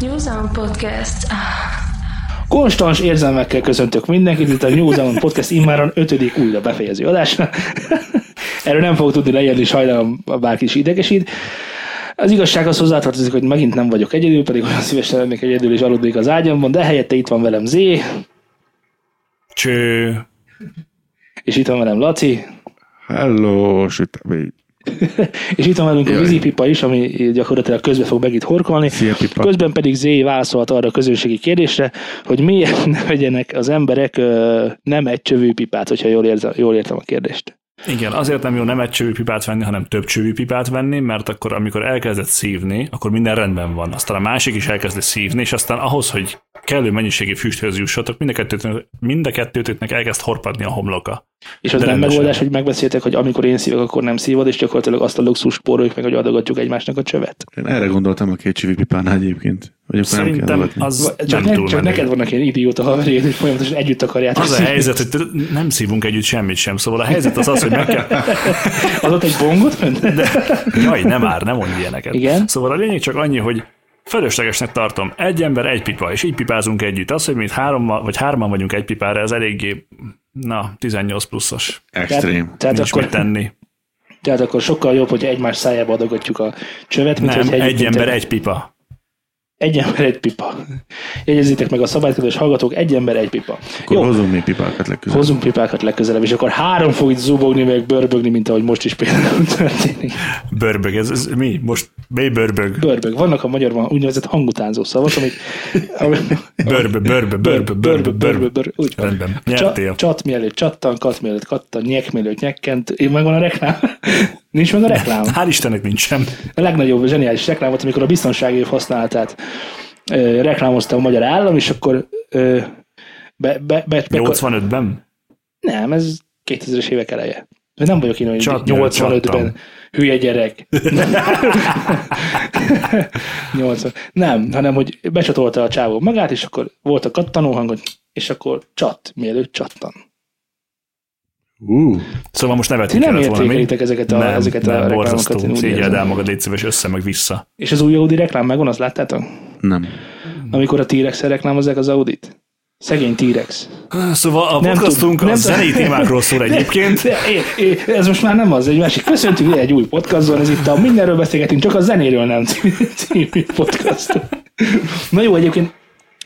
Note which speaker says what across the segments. Speaker 1: New Zealand Podcast.
Speaker 2: Konstans érzelmekkel köszöntök mindenkit, itt a New Zealand Podcast immáron ötödik újra befejező adásra. Erről nem fog tudni leírni, sajnálom, ha bárki is idegesít. Az igazság az hozzátartozik, hogy megint nem vagyok egyedül, pedig olyan szívesen lennék egyedül és aludnék az ágyamban, de helyette itt van velem Zé,
Speaker 3: Cső.
Speaker 2: és itt van velem Laci,
Speaker 4: Hello, sütemény.
Speaker 2: és itt van velünk a
Speaker 4: Jaj.
Speaker 2: vízipipa is, ami gyakorlatilag közbe fog megint horkolni.
Speaker 4: Szia, Pipa.
Speaker 2: Közben pedig Zé válaszolt arra a közönségi kérdésre, hogy miért ne vegyenek az emberek ö, nem egy csövű pipát, hogyha jól, érzem, jól értem a kérdést.
Speaker 3: Igen, azért nem jó nem egy csövű pipát venni, hanem több csövű pipát venni, mert akkor, amikor elkezded szívni, akkor minden rendben van. Aztán a másik is elkezdi szívni, és aztán ahhoz, hogy kellő mennyiségű füsthöz jussatok, mind a, kettőtök, mind a kettőtöknek elkezd horpadni a homloka.
Speaker 2: És az
Speaker 3: De
Speaker 2: nem
Speaker 3: rendesen.
Speaker 2: megoldás, hogy megbeszéltek, hogy amikor én szívok, akkor nem szívod, és gyakorlatilag azt a luxus spóroljuk meg, hogy adogatjuk egymásnak a csövet.
Speaker 4: Én erre gondoltam a két csívi pipánál egyébként. Hogy akkor nem kell
Speaker 3: Szerintem
Speaker 4: adogatni. Az...
Speaker 3: az
Speaker 2: Csak,
Speaker 3: nem
Speaker 2: ne,
Speaker 3: túl
Speaker 2: csak
Speaker 3: menő.
Speaker 2: neked vannak ilyen idióta haverjaid, hogy folyamatosan együtt akarjátok
Speaker 3: Az a
Speaker 2: szívni.
Speaker 3: helyzet, hogy te- nem szívunk együtt semmit sem, szóval a helyzet az az, hogy meg kell,
Speaker 2: Az ott egy bongot ment?
Speaker 3: Jaj, nem már, nem mondj ilyeneket.
Speaker 2: Igen.
Speaker 3: Szóval a lényeg csak annyi, hogy fölöslegesnek tartom. Egy ember, egy pipa, és így pipázunk együtt. Az, hogy mi itt hárommal, vagy hárman vagyunk egy pipára, ez eléggé, na, 18 pluszos.
Speaker 4: Extrém.
Speaker 2: Tehát
Speaker 3: Nincs
Speaker 2: akkor,
Speaker 3: mit tenni.
Speaker 2: tehát akkor sokkal jobb, hogy egymás szájába adogatjuk a csövet, mint
Speaker 3: Nem,
Speaker 2: hogyha
Speaker 3: egy
Speaker 2: egyébként-
Speaker 3: ember, egy pipa.
Speaker 2: Egy ember, egy pipa. Jegyezzétek meg a szabályt, kedves hallgatók, egy ember, egy pipa.
Speaker 4: Akkor
Speaker 2: Jó,
Speaker 4: hozunk még pipákat legközelebb.
Speaker 2: hozunk pipákat legközelebb, és akkor három fog itt zubogni, meg börbögni, mint ahogy most is például történik.
Speaker 3: Börbög, ez, ez mi? Most mi börbög?
Speaker 2: Börbög. Vannak a magyarban úgynevezett hangutánzó szavak, amik... amik-
Speaker 3: Börbe, börbe, börbe, börbe, börbe.
Speaker 2: Úgy van.
Speaker 3: Rendben,
Speaker 2: Csa,
Speaker 3: nyertél.
Speaker 2: csat mielőtt csattan, kat mielőtt kattan, nyek mielőtt nyekkent. Én megvan a reklám. Nincs meg a reklám.
Speaker 3: Hál' Istennek nincs sem.
Speaker 2: A legnagyobb zseniális reklám volt, amikor a biztonsági év használatát ö, reklámozta a magyar állam, és akkor ö, be, be, be, be,
Speaker 3: 85-ben?
Speaker 2: Nem, ez 2000-es évek eleje. Én Nem vagyok én, hogy
Speaker 3: Csat mielőtt
Speaker 2: 85-ben
Speaker 3: csattan.
Speaker 2: hülye gyerek. 80. Nem, hanem hogy becsatolta a csávó magát, és akkor volt a kattanó hangon, és akkor csat, mielőtt csattan.
Speaker 4: Ú,
Speaker 3: Szóval most
Speaker 2: Ti
Speaker 3: nevetni
Speaker 2: nem
Speaker 3: kellett volna, mi?
Speaker 2: értékelitek ezeket a, ezeket a
Speaker 3: nem,
Speaker 2: reklámokat.
Speaker 3: borzasztó.
Speaker 2: én úgy
Speaker 3: Szégyeld el
Speaker 2: érzem.
Speaker 3: magad, légy szíves, össze meg vissza.
Speaker 2: És az új Audi reklám megvan, azt láttátok?
Speaker 4: nem.
Speaker 2: Amikor a T-rex reklámozzák az Audit? Szegény T-rex.
Speaker 3: Szóval a
Speaker 2: Nem
Speaker 3: podcastunk
Speaker 2: tud-
Speaker 3: a
Speaker 2: nem tud-
Speaker 3: zenei témákról szól egyébként.
Speaker 2: De é, é, ez most már nem az, egy másik. Köszöntünk ide egy új podcastban, ez itt a Mindenről beszélgetünk, csak a zenéről nem című podcast. Na jó, egyébként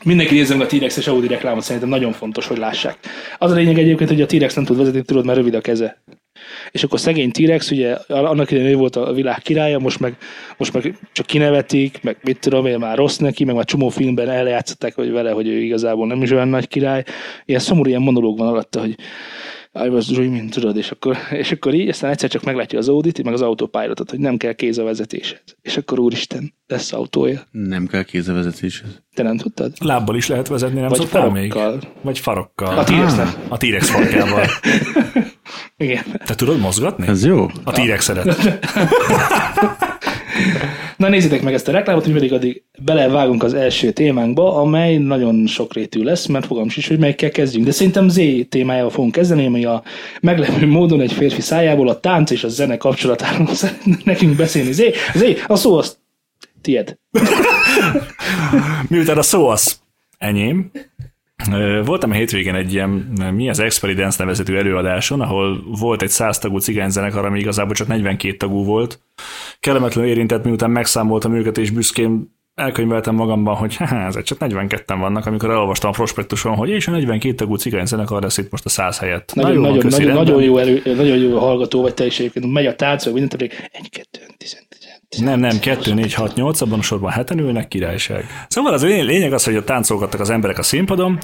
Speaker 2: mindenki nézze meg a T-rex és Audi reklámot, szerintem nagyon fontos, hogy lássák. Az a lényeg egyébként, hogy a T-rex nem tud vezetni, tudod, mert rövid a keze. És akkor szegény T-rex, ugye annak idején ő volt a világ királya, most meg, most meg csak kinevetik, meg mit tudom én, már rossz neki, meg már csomó filmben eljátszották hogy vele, hogy ő igazából nem is olyan nagy király. Ilyen szomorú, ilyen monológ van alatta, hogy I was dreaming, tudod, és akkor, és akkor így, aztán egyszer csak meglátja az Audit, meg az autopilotot, hogy nem kell kéz a vezetéshez. És akkor úristen, lesz autója.
Speaker 4: Nem kell kézvezetéshez.
Speaker 2: Te nem tudtad?
Speaker 3: Lábbal is lehet vezetni, nem
Speaker 2: Vagy
Speaker 3: szoktál még?
Speaker 2: farokkal.
Speaker 3: Vagy
Speaker 2: A
Speaker 3: farokkal.
Speaker 2: T-rex nem.
Speaker 3: A T-rex farkával.
Speaker 2: Igen.
Speaker 3: Te tudod mozgatni?
Speaker 4: Ez jó.
Speaker 3: A T-rex szeret.
Speaker 2: Na nézzétek meg ezt a reklámot, mi pedig addig belevágunk az első témánkba, amely nagyon sokrétű lesz, mert fogalm sincs, hogy melyikkel kezdjünk. De szerintem Z témájával fogunk kezdeni, ami a meglepő módon egy férfi szájából a tánc és a zene kapcsolatáról szeretne nekünk beszélni. Z, Z, a szó az tied.
Speaker 3: Miután a szó az enyém, ö, voltam a hétvégén egy ilyen, mi az Expery Dance nevezetű előadáson, ahol volt egy 100 tagú cigányzenekar, ami igazából csak 42 tagú volt. Kellemetlenül érintett, miután megszámoltam őket, és büszkén elkönyveltem magamban, hogy "Haha, ezek csak 42-en vannak, amikor elolvastam a prospektuson, hogy és a 42 tagú cigányzenekar lesz itt most a 100 helyett.
Speaker 2: Nagyon,
Speaker 3: Na jó, van,
Speaker 2: nagyon,
Speaker 3: köszi,
Speaker 2: nagyon,
Speaker 3: rendben.
Speaker 2: nagyon, jó elő, nagyon jó hallgató vagy te is egyébként. Megy a tánc, vagy mindent, pedig egy, kettő, tizen, tizen, tizen.
Speaker 3: Nem, nem, 2, 4, 6, 8, abban a sorban heten ülnek, királyság. Szóval az lény- lényeg az, hogy ott táncolgattak az emberek a színpadon,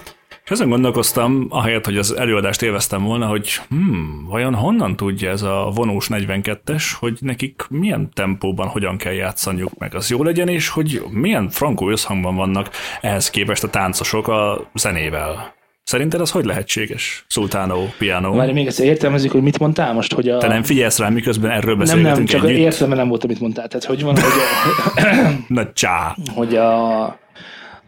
Speaker 3: és ezen gondolkoztam, ahelyett, hogy az előadást élveztem volna, hogy hmm, vajon honnan tudja ez a vonós 42-es, hogy nekik milyen tempóban hogyan kell játszaniuk meg, az jó legyen, és hogy milyen frankó összhangban vannak ehhez képest a táncosok a zenével. Szerinted az hogy lehetséges? Szultánó, piano?
Speaker 2: Már még egyszer értelmezzük, hogy mit mondtál most, hogy a...
Speaker 3: Te nem figyelsz rá, miközben erről
Speaker 2: nem,
Speaker 3: beszélgetünk
Speaker 2: nem, csak
Speaker 3: együtt?
Speaker 2: értem, mert nem volt, amit mondtál. Tehát, hogy van, hogy a,
Speaker 3: Na csá!
Speaker 2: hogy a,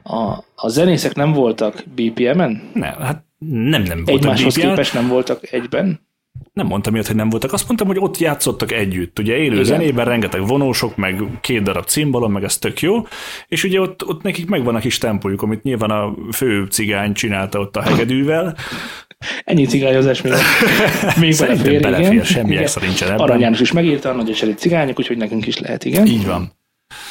Speaker 2: a, a zenészek nem voltak BPM-en?
Speaker 3: Nem, hát nem, nem voltak
Speaker 2: Egymáshoz
Speaker 3: BPM-en.
Speaker 2: képest nem voltak egyben?
Speaker 3: nem mondtam miatt, hogy nem voltak. Azt mondtam, hogy ott játszottak együtt. Ugye élő
Speaker 2: Igen.
Speaker 3: Igen. zenében rengeteg vonósok, meg két darab cimbalom, meg ez tök jó. És ugye ott, ott nekik megvan a kis tempójuk, amit nyilván a fő cigány csinálta ott a hegedűvel.
Speaker 2: Ennyi cigányozás még, még
Speaker 3: Szerintem
Speaker 2: belefér,
Speaker 3: belefér,
Speaker 2: igen.
Speaker 3: semmi
Speaker 2: Igen.
Speaker 3: extra nincsen ebben.
Speaker 2: Arany János is megírta, a nagy eserű cigányok, úgyhogy nekünk is lehet, igen.
Speaker 3: Így van.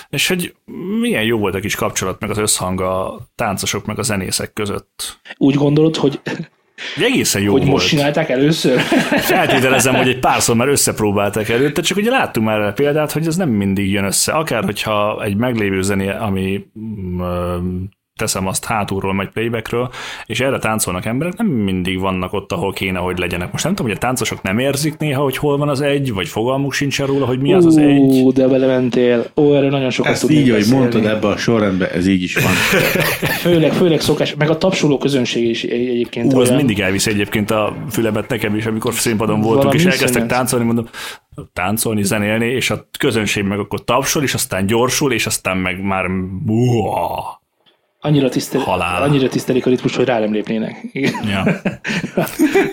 Speaker 3: És hogy milyen jó volt a kis kapcsolat, meg az összhang a táncosok, meg a zenészek között.
Speaker 2: Úgy gondolod, hogy,
Speaker 3: Egy egészen jó
Speaker 2: hogy
Speaker 3: volt.
Speaker 2: most csinálták először?
Speaker 3: Feltételezem, hogy egy párszor már összepróbálták előtte, csak ugye láttunk már erre példát, hogy ez nem mindig jön össze. Akár, hogyha egy meglévő zené, ami mm, ö, teszem azt hátulról, majd playbackről, és erre táncolnak emberek, nem mindig vannak ott, ahol kéne, hogy legyenek. Most nem tudom, hogy a táncosok nem érzik néha, hogy hol van az egy, vagy fogalmuk sincsen róla, hogy mi az az egy.
Speaker 2: Ú, de belementél. Ó, erről nagyon sokat
Speaker 4: Ezt
Speaker 2: tudnék
Speaker 4: így, ahogy
Speaker 2: beszélni.
Speaker 4: mondtad ebbe a sorrendbe, ez így is van.
Speaker 2: Főleg, főleg szokás, meg a tapsoló közönség is egy- egyébként.
Speaker 3: Ú, az
Speaker 2: olyan.
Speaker 3: mindig elvisz egyébként a fülemet nekem is, amikor színpadon voltunk,
Speaker 2: Valami
Speaker 3: és elkezdtek
Speaker 2: iszonyat.
Speaker 3: táncolni, mondom, táncolni, zenélni, és a közönség meg akkor tapsol, és aztán gyorsul, és aztán meg már buha.
Speaker 2: Annyira, tisztel,
Speaker 3: Halál.
Speaker 2: annyira tisztelik a ritmus, hogy rá nem lépnének. Igen.
Speaker 3: Ja.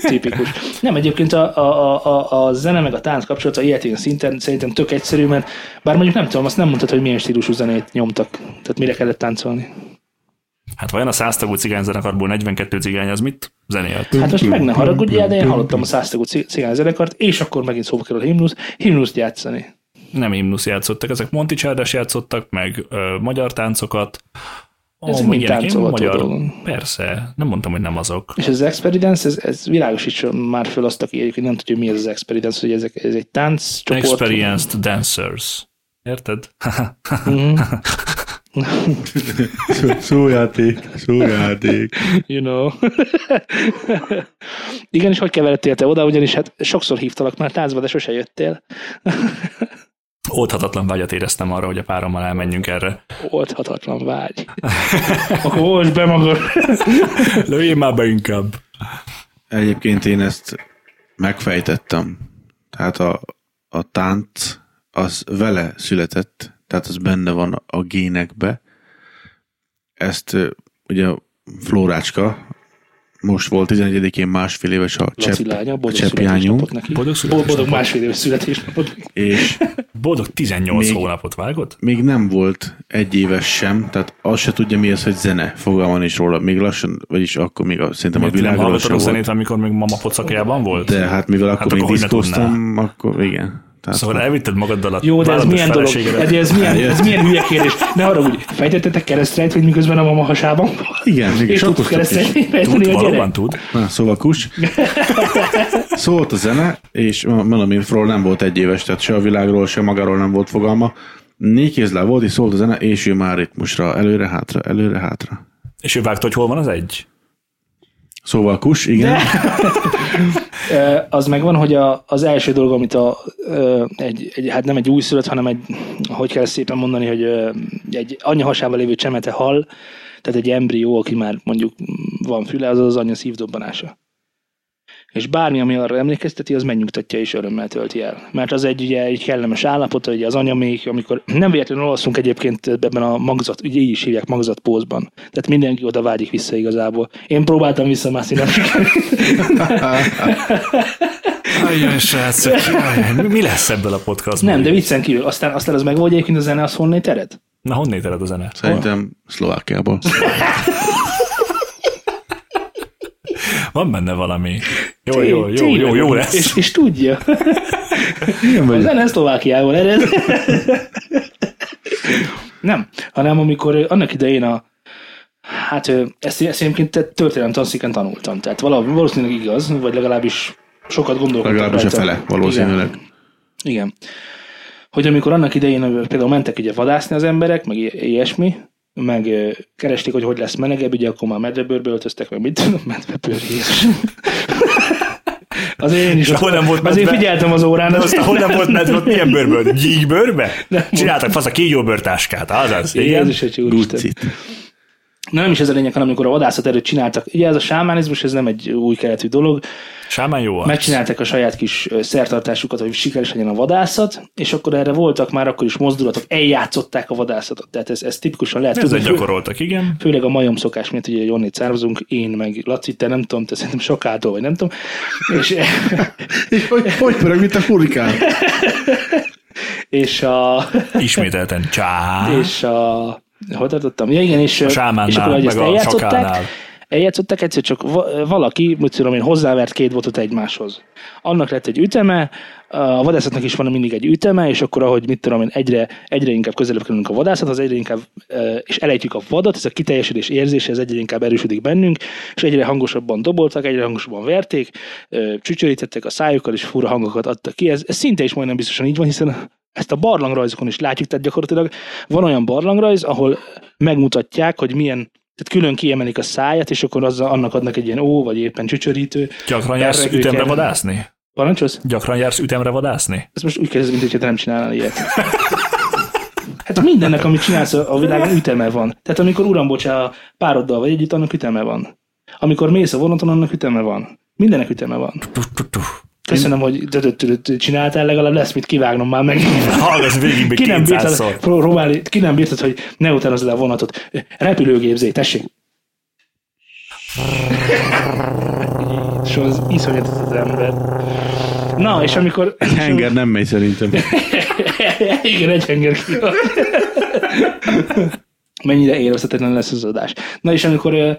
Speaker 2: Tipikus. Nem, egyébként a, a, a- a, a zene meg a tánc kapcsolata ilyetén szinten szerintem tök egyszerű, mert bár mondjuk nem tudom, azt nem mondtad, hogy milyen stílusú zenét nyomtak, tehát mire kellett táncolni.
Speaker 3: Hát vajon a száztagú cigányzenekarból 42 cigány az mit zenélt?
Speaker 2: Hát most meg ne haragudjál, de én hallottam a száztagú ci- cigány zenekart, és akkor megint szóba kerül a himnusz, himnuszt játszani.
Speaker 3: Nem himnusz játszottak, ezek Monti Csárdás játszottak, meg ö, magyar táncokat. Ó,
Speaker 2: Ez
Speaker 3: meg
Speaker 2: mind
Speaker 3: ilyenek, én
Speaker 2: táncolható dolog.
Speaker 3: Persze, nem mondtam, hogy nem azok.
Speaker 2: És az Experience, ez, ez világosítson már föl azt, aki egyébként nem tudja, mi ez az Experience, hogy ezek, ez egy tánccsoport.
Speaker 3: Experienced dancers. Érted?
Speaker 4: Szó- Szójáték, szójáték.
Speaker 2: You know. Igen, és hogy keveredtél te oda, ugyanis hát sokszor hívtalak már táncba, de sose jöttél.
Speaker 3: Oldhatatlan vágyat éreztem arra, hogy a párommal elmenjünk erre.
Speaker 2: Oldhatatlan vágy. Akkor most be magad.
Speaker 3: Lőjél már be inkább.
Speaker 4: Egyébként én ezt megfejtettem. Tehát a, a tánc az vele született, tehát az benne van a génekbe. Ezt ö, ugye Flórácska most volt 11-én másfél éves a
Speaker 2: Laci
Speaker 4: csepp,
Speaker 2: lánya,
Speaker 4: a
Speaker 2: boldog
Speaker 4: cseppjányunk,
Speaker 2: születésnapot neki. Boldog,
Speaker 3: Boldog születésnapot.
Speaker 2: boldog másfél éves születésnapot.
Speaker 4: és
Speaker 3: Boldog 18
Speaker 4: Még-
Speaker 3: hónapot vágott?
Speaker 4: még nem volt egy éves sem, tehát azt se tudja mi az, hogy zene, fogalma is róla. Még lassan, vagyis akkor még a, szerintem a
Speaker 3: Miért nem
Speaker 4: világról sem
Speaker 3: hallgatod a
Speaker 4: volt.
Speaker 3: zenét, amikor még mama pocakjában volt?
Speaker 4: De hát mivel akkor
Speaker 3: akkor
Speaker 4: még
Speaker 3: hogy ne
Speaker 4: diszkóztam, akkor igen. Tehát
Speaker 3: Szóval elvitted magaddal a
Speaker 2: Jó, de ez
Speaker 3: vállatos
Speaker 2: milyen dolog?
Speaker 3: feleségedet.
Speaker 2: Ez, ez, milyen, ez milyen hülye kérdés? Ne haragudj, fejtettetek keresztrejt, hogy miközben a mama hasában van?
Speaker 4: Igen, igen,
Speaker 2: És ott
Speaker 4: sokoztuk is.
Speaker 2: keresztrejt
Speaker 3: Tud,
Speaker 2: fejteni a gyerek?
Speaker 3: valóban tud.
Speaker 4: Na, szóval kus. Szólt a zene, és mondom, én Frol nem volt egy éves, tehát se a világról, se magáról nem volt fogalma. Négy kézláb volt, és szólt a zene, és ő már ritmusra, előre-hátra, előre-hátra.
Speaker 3: És ő vágta, hogy hol van az egy?
Speaker 4: Szóval kus, igen.
Speaker 2: Ö, az megvan, hogy a, az első dolog, amit a, ö, egy, egy, hát nem egy újszülött, hanem egy, hogy kell ezt szépen mondani, hogy ö, egy anya hasában lévő csemete hal, tehát egy embrió, aki már mondjuk van füle, az az anya szívdobbanása. És bármi, ami arra emlékezteti, az megnyugtatja és örömmel tölti el. Mert az egy, ugye, egy kellemes állapot, ugye az anyamék, amikor nem véletlenül alszunk egyébként ebben a magzat, ugye így is hívják magzatpózban. Tehát mindenki oda vágyik vissza igazából. Én próbáltam visszamászni, nem sikerült.
Speaker 3: Ajjaj, srácok, ajjaj, mi- mi lesz ebből a podcastból?
Speaker 2: Nem, de viccen kívül. Aztán, aztán az meg volt egyébként a zene, az honnét ered?
Speaker 3: Na, honnét ered a zene?
Speaker 4: Szerintem Szlovákiából.
Speaker 3: Van benne valami. Jó, jó, jó, jó, jó
Speaker 2: van.
Speaker 3: lesz.
Speaker 2: És, és tudja. A zene Szlovákiából ered. Nem, hanem amikor ö, annak idején a Hát ö, ezt, ezt egyébként te- történelem tanszéken tanultam, tehát valahol valószínűleg igaz, vagy legalábbis sokat gondolkodtam
Speaker 4: Legalábbis a
Speaker 2: rajta.
Speaker 4: fele,
Speaker 2: Igen.
Speaker 4: valószínűleg.
Speaker 2: Igen. Hogy amikor annak idején ö, például mentek ugye vadászni az emberek, meg i- ilyesmi, meg ö, keresték, hogy hogy lesz melegebb, ugye akkor már medvebőrbe öltöztek, meg mit tudom, medvebőr, Jézus. Azért én is
Speaker 3: És hol nem volt
Speaker 2: azért
Speaker 3: medve?
Speaker 2: figyeltem az órán.
Speaker 3: De aztán hol nem volt medve, ott milyen bőrből? Gyíkbőrbe?
Speaker 2: Nem.
Speaker 3: Csináltak fasz a kígyóbőrtáskát, azaz. Igen.
Speaker 2: Jézus, hogy úristen.
Speaker 4: Guccit.
Speaker 2: Na, nem is ez a lényeg, hanem amikor a vadászat erőt csináltak. Ugye ez a sámánizmus, ez nem egy új keletű dolog.
Speaker 3: Sámán jó arc.
Speaker 2: Megcsinálták a saját kis ö, szertartásukat, hogy sikeres legyen a vadászat, és akkor erre voltak már akkor is mozdulatok, eljátszották a vadászatot. Tehát ez, ez tipikusan lehet
Speaker 3: Ezzel
Speaker 2: fő-
Speaker 3: gyakoroltak, igen.
Speaker 2: főleg a majom szokás miatt, ugye Jonnit származunk, én meg Laci, te nem tudom, te szerintem sokától, vagy nem tudom. És,
Speaker 4: És hogy, hogy pörög, mint a furikán.
Speaker 2: és a...
Speaker 3: Ismételten csá.
Speaker 2: és a... Hol tartottam? Ja, igen, és,
Speaker 3: sámánnál,
Speaker 2: és akkor, hogy
Speaker 3: meg
Speaker 2: ezt
Speaker 3: a
Speaker 2: eljátszották,
Speaker 3: sakálnál.
Speaker 2: eljátszották, egyszer csak va- valaki, mit tudom én, hozzávert két botot egymáshoz. Annak lett egy üteme, a vadászatnak is van mindig egy üteme, és akkor, ahogy mit tudom én, egyre, egyre inkább közelebb kerülünk a vadászathoz, egyre inkább, ö, és elejtjük a vadat, ez a kiteljesülés érzése, ez egyre inkább erősödik bennünk, és egyre hangosabban doboltak, egyre hangosabban verték, ö, csücsörítettek a szájukkal, és fura hangokat adtak ki. Ez, ez szinte is majdnem biztosan így van, hiszen ezt a barlangrajzokon is látjuk, tehát gyakorlatilag van olyan barlangrajz, ahol megmutatják, hogy milyen tehát külön kiemelik a száját, és akkor azzal, annak adnak egy ilyen ó, vagy éppen csücsörítő.
Speaker 3: Gyakran jársz
Speaker 2: Perregő
Speaker 3: ütemre
Speaker 2: kell.
Speaker 3: vadászni?
Speaker 2: Parancsolsz?
Speaker 3: Gyakran jársz ütemre vadászni?
Speaker 2: Ezt most úgy kérdezem, mint hogyha te nem csinálnál ilyet. Hát mindennek, amit csinálsz a a világon, üteme van. Tehát amikor uram, bocsá, a pároddal vagy együtt, annak üteme van. Amikor mész a vonaton, annak üteme van. Mindennek üteme van.
Speaker 3: Tuh, tuh, tuh.
Speaker 2: Köszönöm, hogy dödött csináltál, legalább lesz mit kivágnom már meg.
Speaker 3: Hallgass végig még
Speaker 2: ki nem,
Speaker 3: 200-szor.
Speaker 2: bírtad, pró- próbálni, ki nem bírtad, hogy ne utánozz le a vonatot. Repülőgépzé, tessék. És az iszonyat az ember. Na, és amikor...
Speaker 4: Henger nem megy szerintem.
Speaker 2: Igen, egy henger kihagy. Mennyire érezhetetlen lesz az adás. Na, és amikor... ö,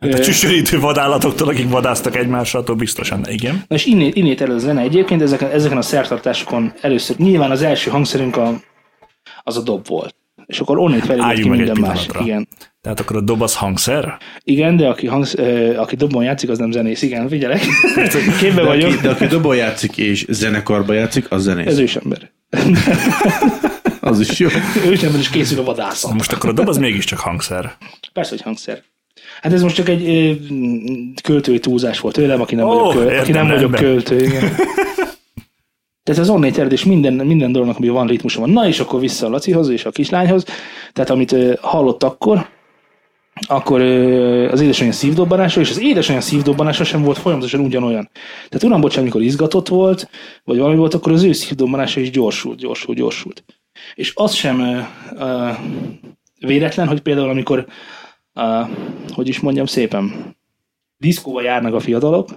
Speaker 3: A csücsörítő vadállatoktól, akik vadásztak egymással, attól biztosan. Igen.
Speaker 2: Na és innét, innét elő a zene egyébként, ezeken, ezeken a szertartásokon először, nyilván az első hangszerünk a, az a dob volt. És akkor onnét felé
Speaker 3: Álljunk
Speaker 2: ki
Speaker 3: meg egy
Speaker 2: minden más.
Speaker 3: pillanatra.
Speaker 2: Igen.
Speaker 3: Tehát akkor a dob az hangszer?
Speaker 2: Igen, de aki, hangsz, ö, aki dobon játszik, az nem zenész. Igen, figyelek. Képbe
Speaker 4: De
Speaker 2: vagyok.
Speaker 4: aki, de aki dobon játszik és zenekarba játszik, az
Speaker 2: Ez
Speaker 4: zenész.
Speaker 2: ősember.
Speaker 4: Az is jó.
Speaker 2: Ősember is készül a vadászat.
Speaker 3: Most akkor a dob az mégiscsak hangszer.
Speaker 2: Persze, hogy hangszer. Hát ez most csak egy ö, m, költői túlzás volt tőlem, aki nem
Speaker 3: Ó,
Speaker 2: vagyok, köl, aki
Speaker 3: értem,
Speaker 2: nem vagyok
Speaker 3: rendben.
Speaker 2: költő. Igen. Tehát az onnét ered, és minden, minden dolognak, ami van ritmusa van. Na és akkor vissza a Lacihoz és a kislányhoz. Tehát amit ö, hallott akkor, akkor ö, az édesanyja szívdobbanása, és az édesanyja szívdobbanása sem volt folyamatosan ugyanolyan. Tehát uram, bocsánat, amikor izgatott volt, vagy valami volt, akkor az ő szívdobbanása is gyorsult, gyorsult, gyorsult. És az sem ö, ö, véletlen, hogy például amikor, ö, hogy is mondjam szépen, diszkóba járnak a fiatalok,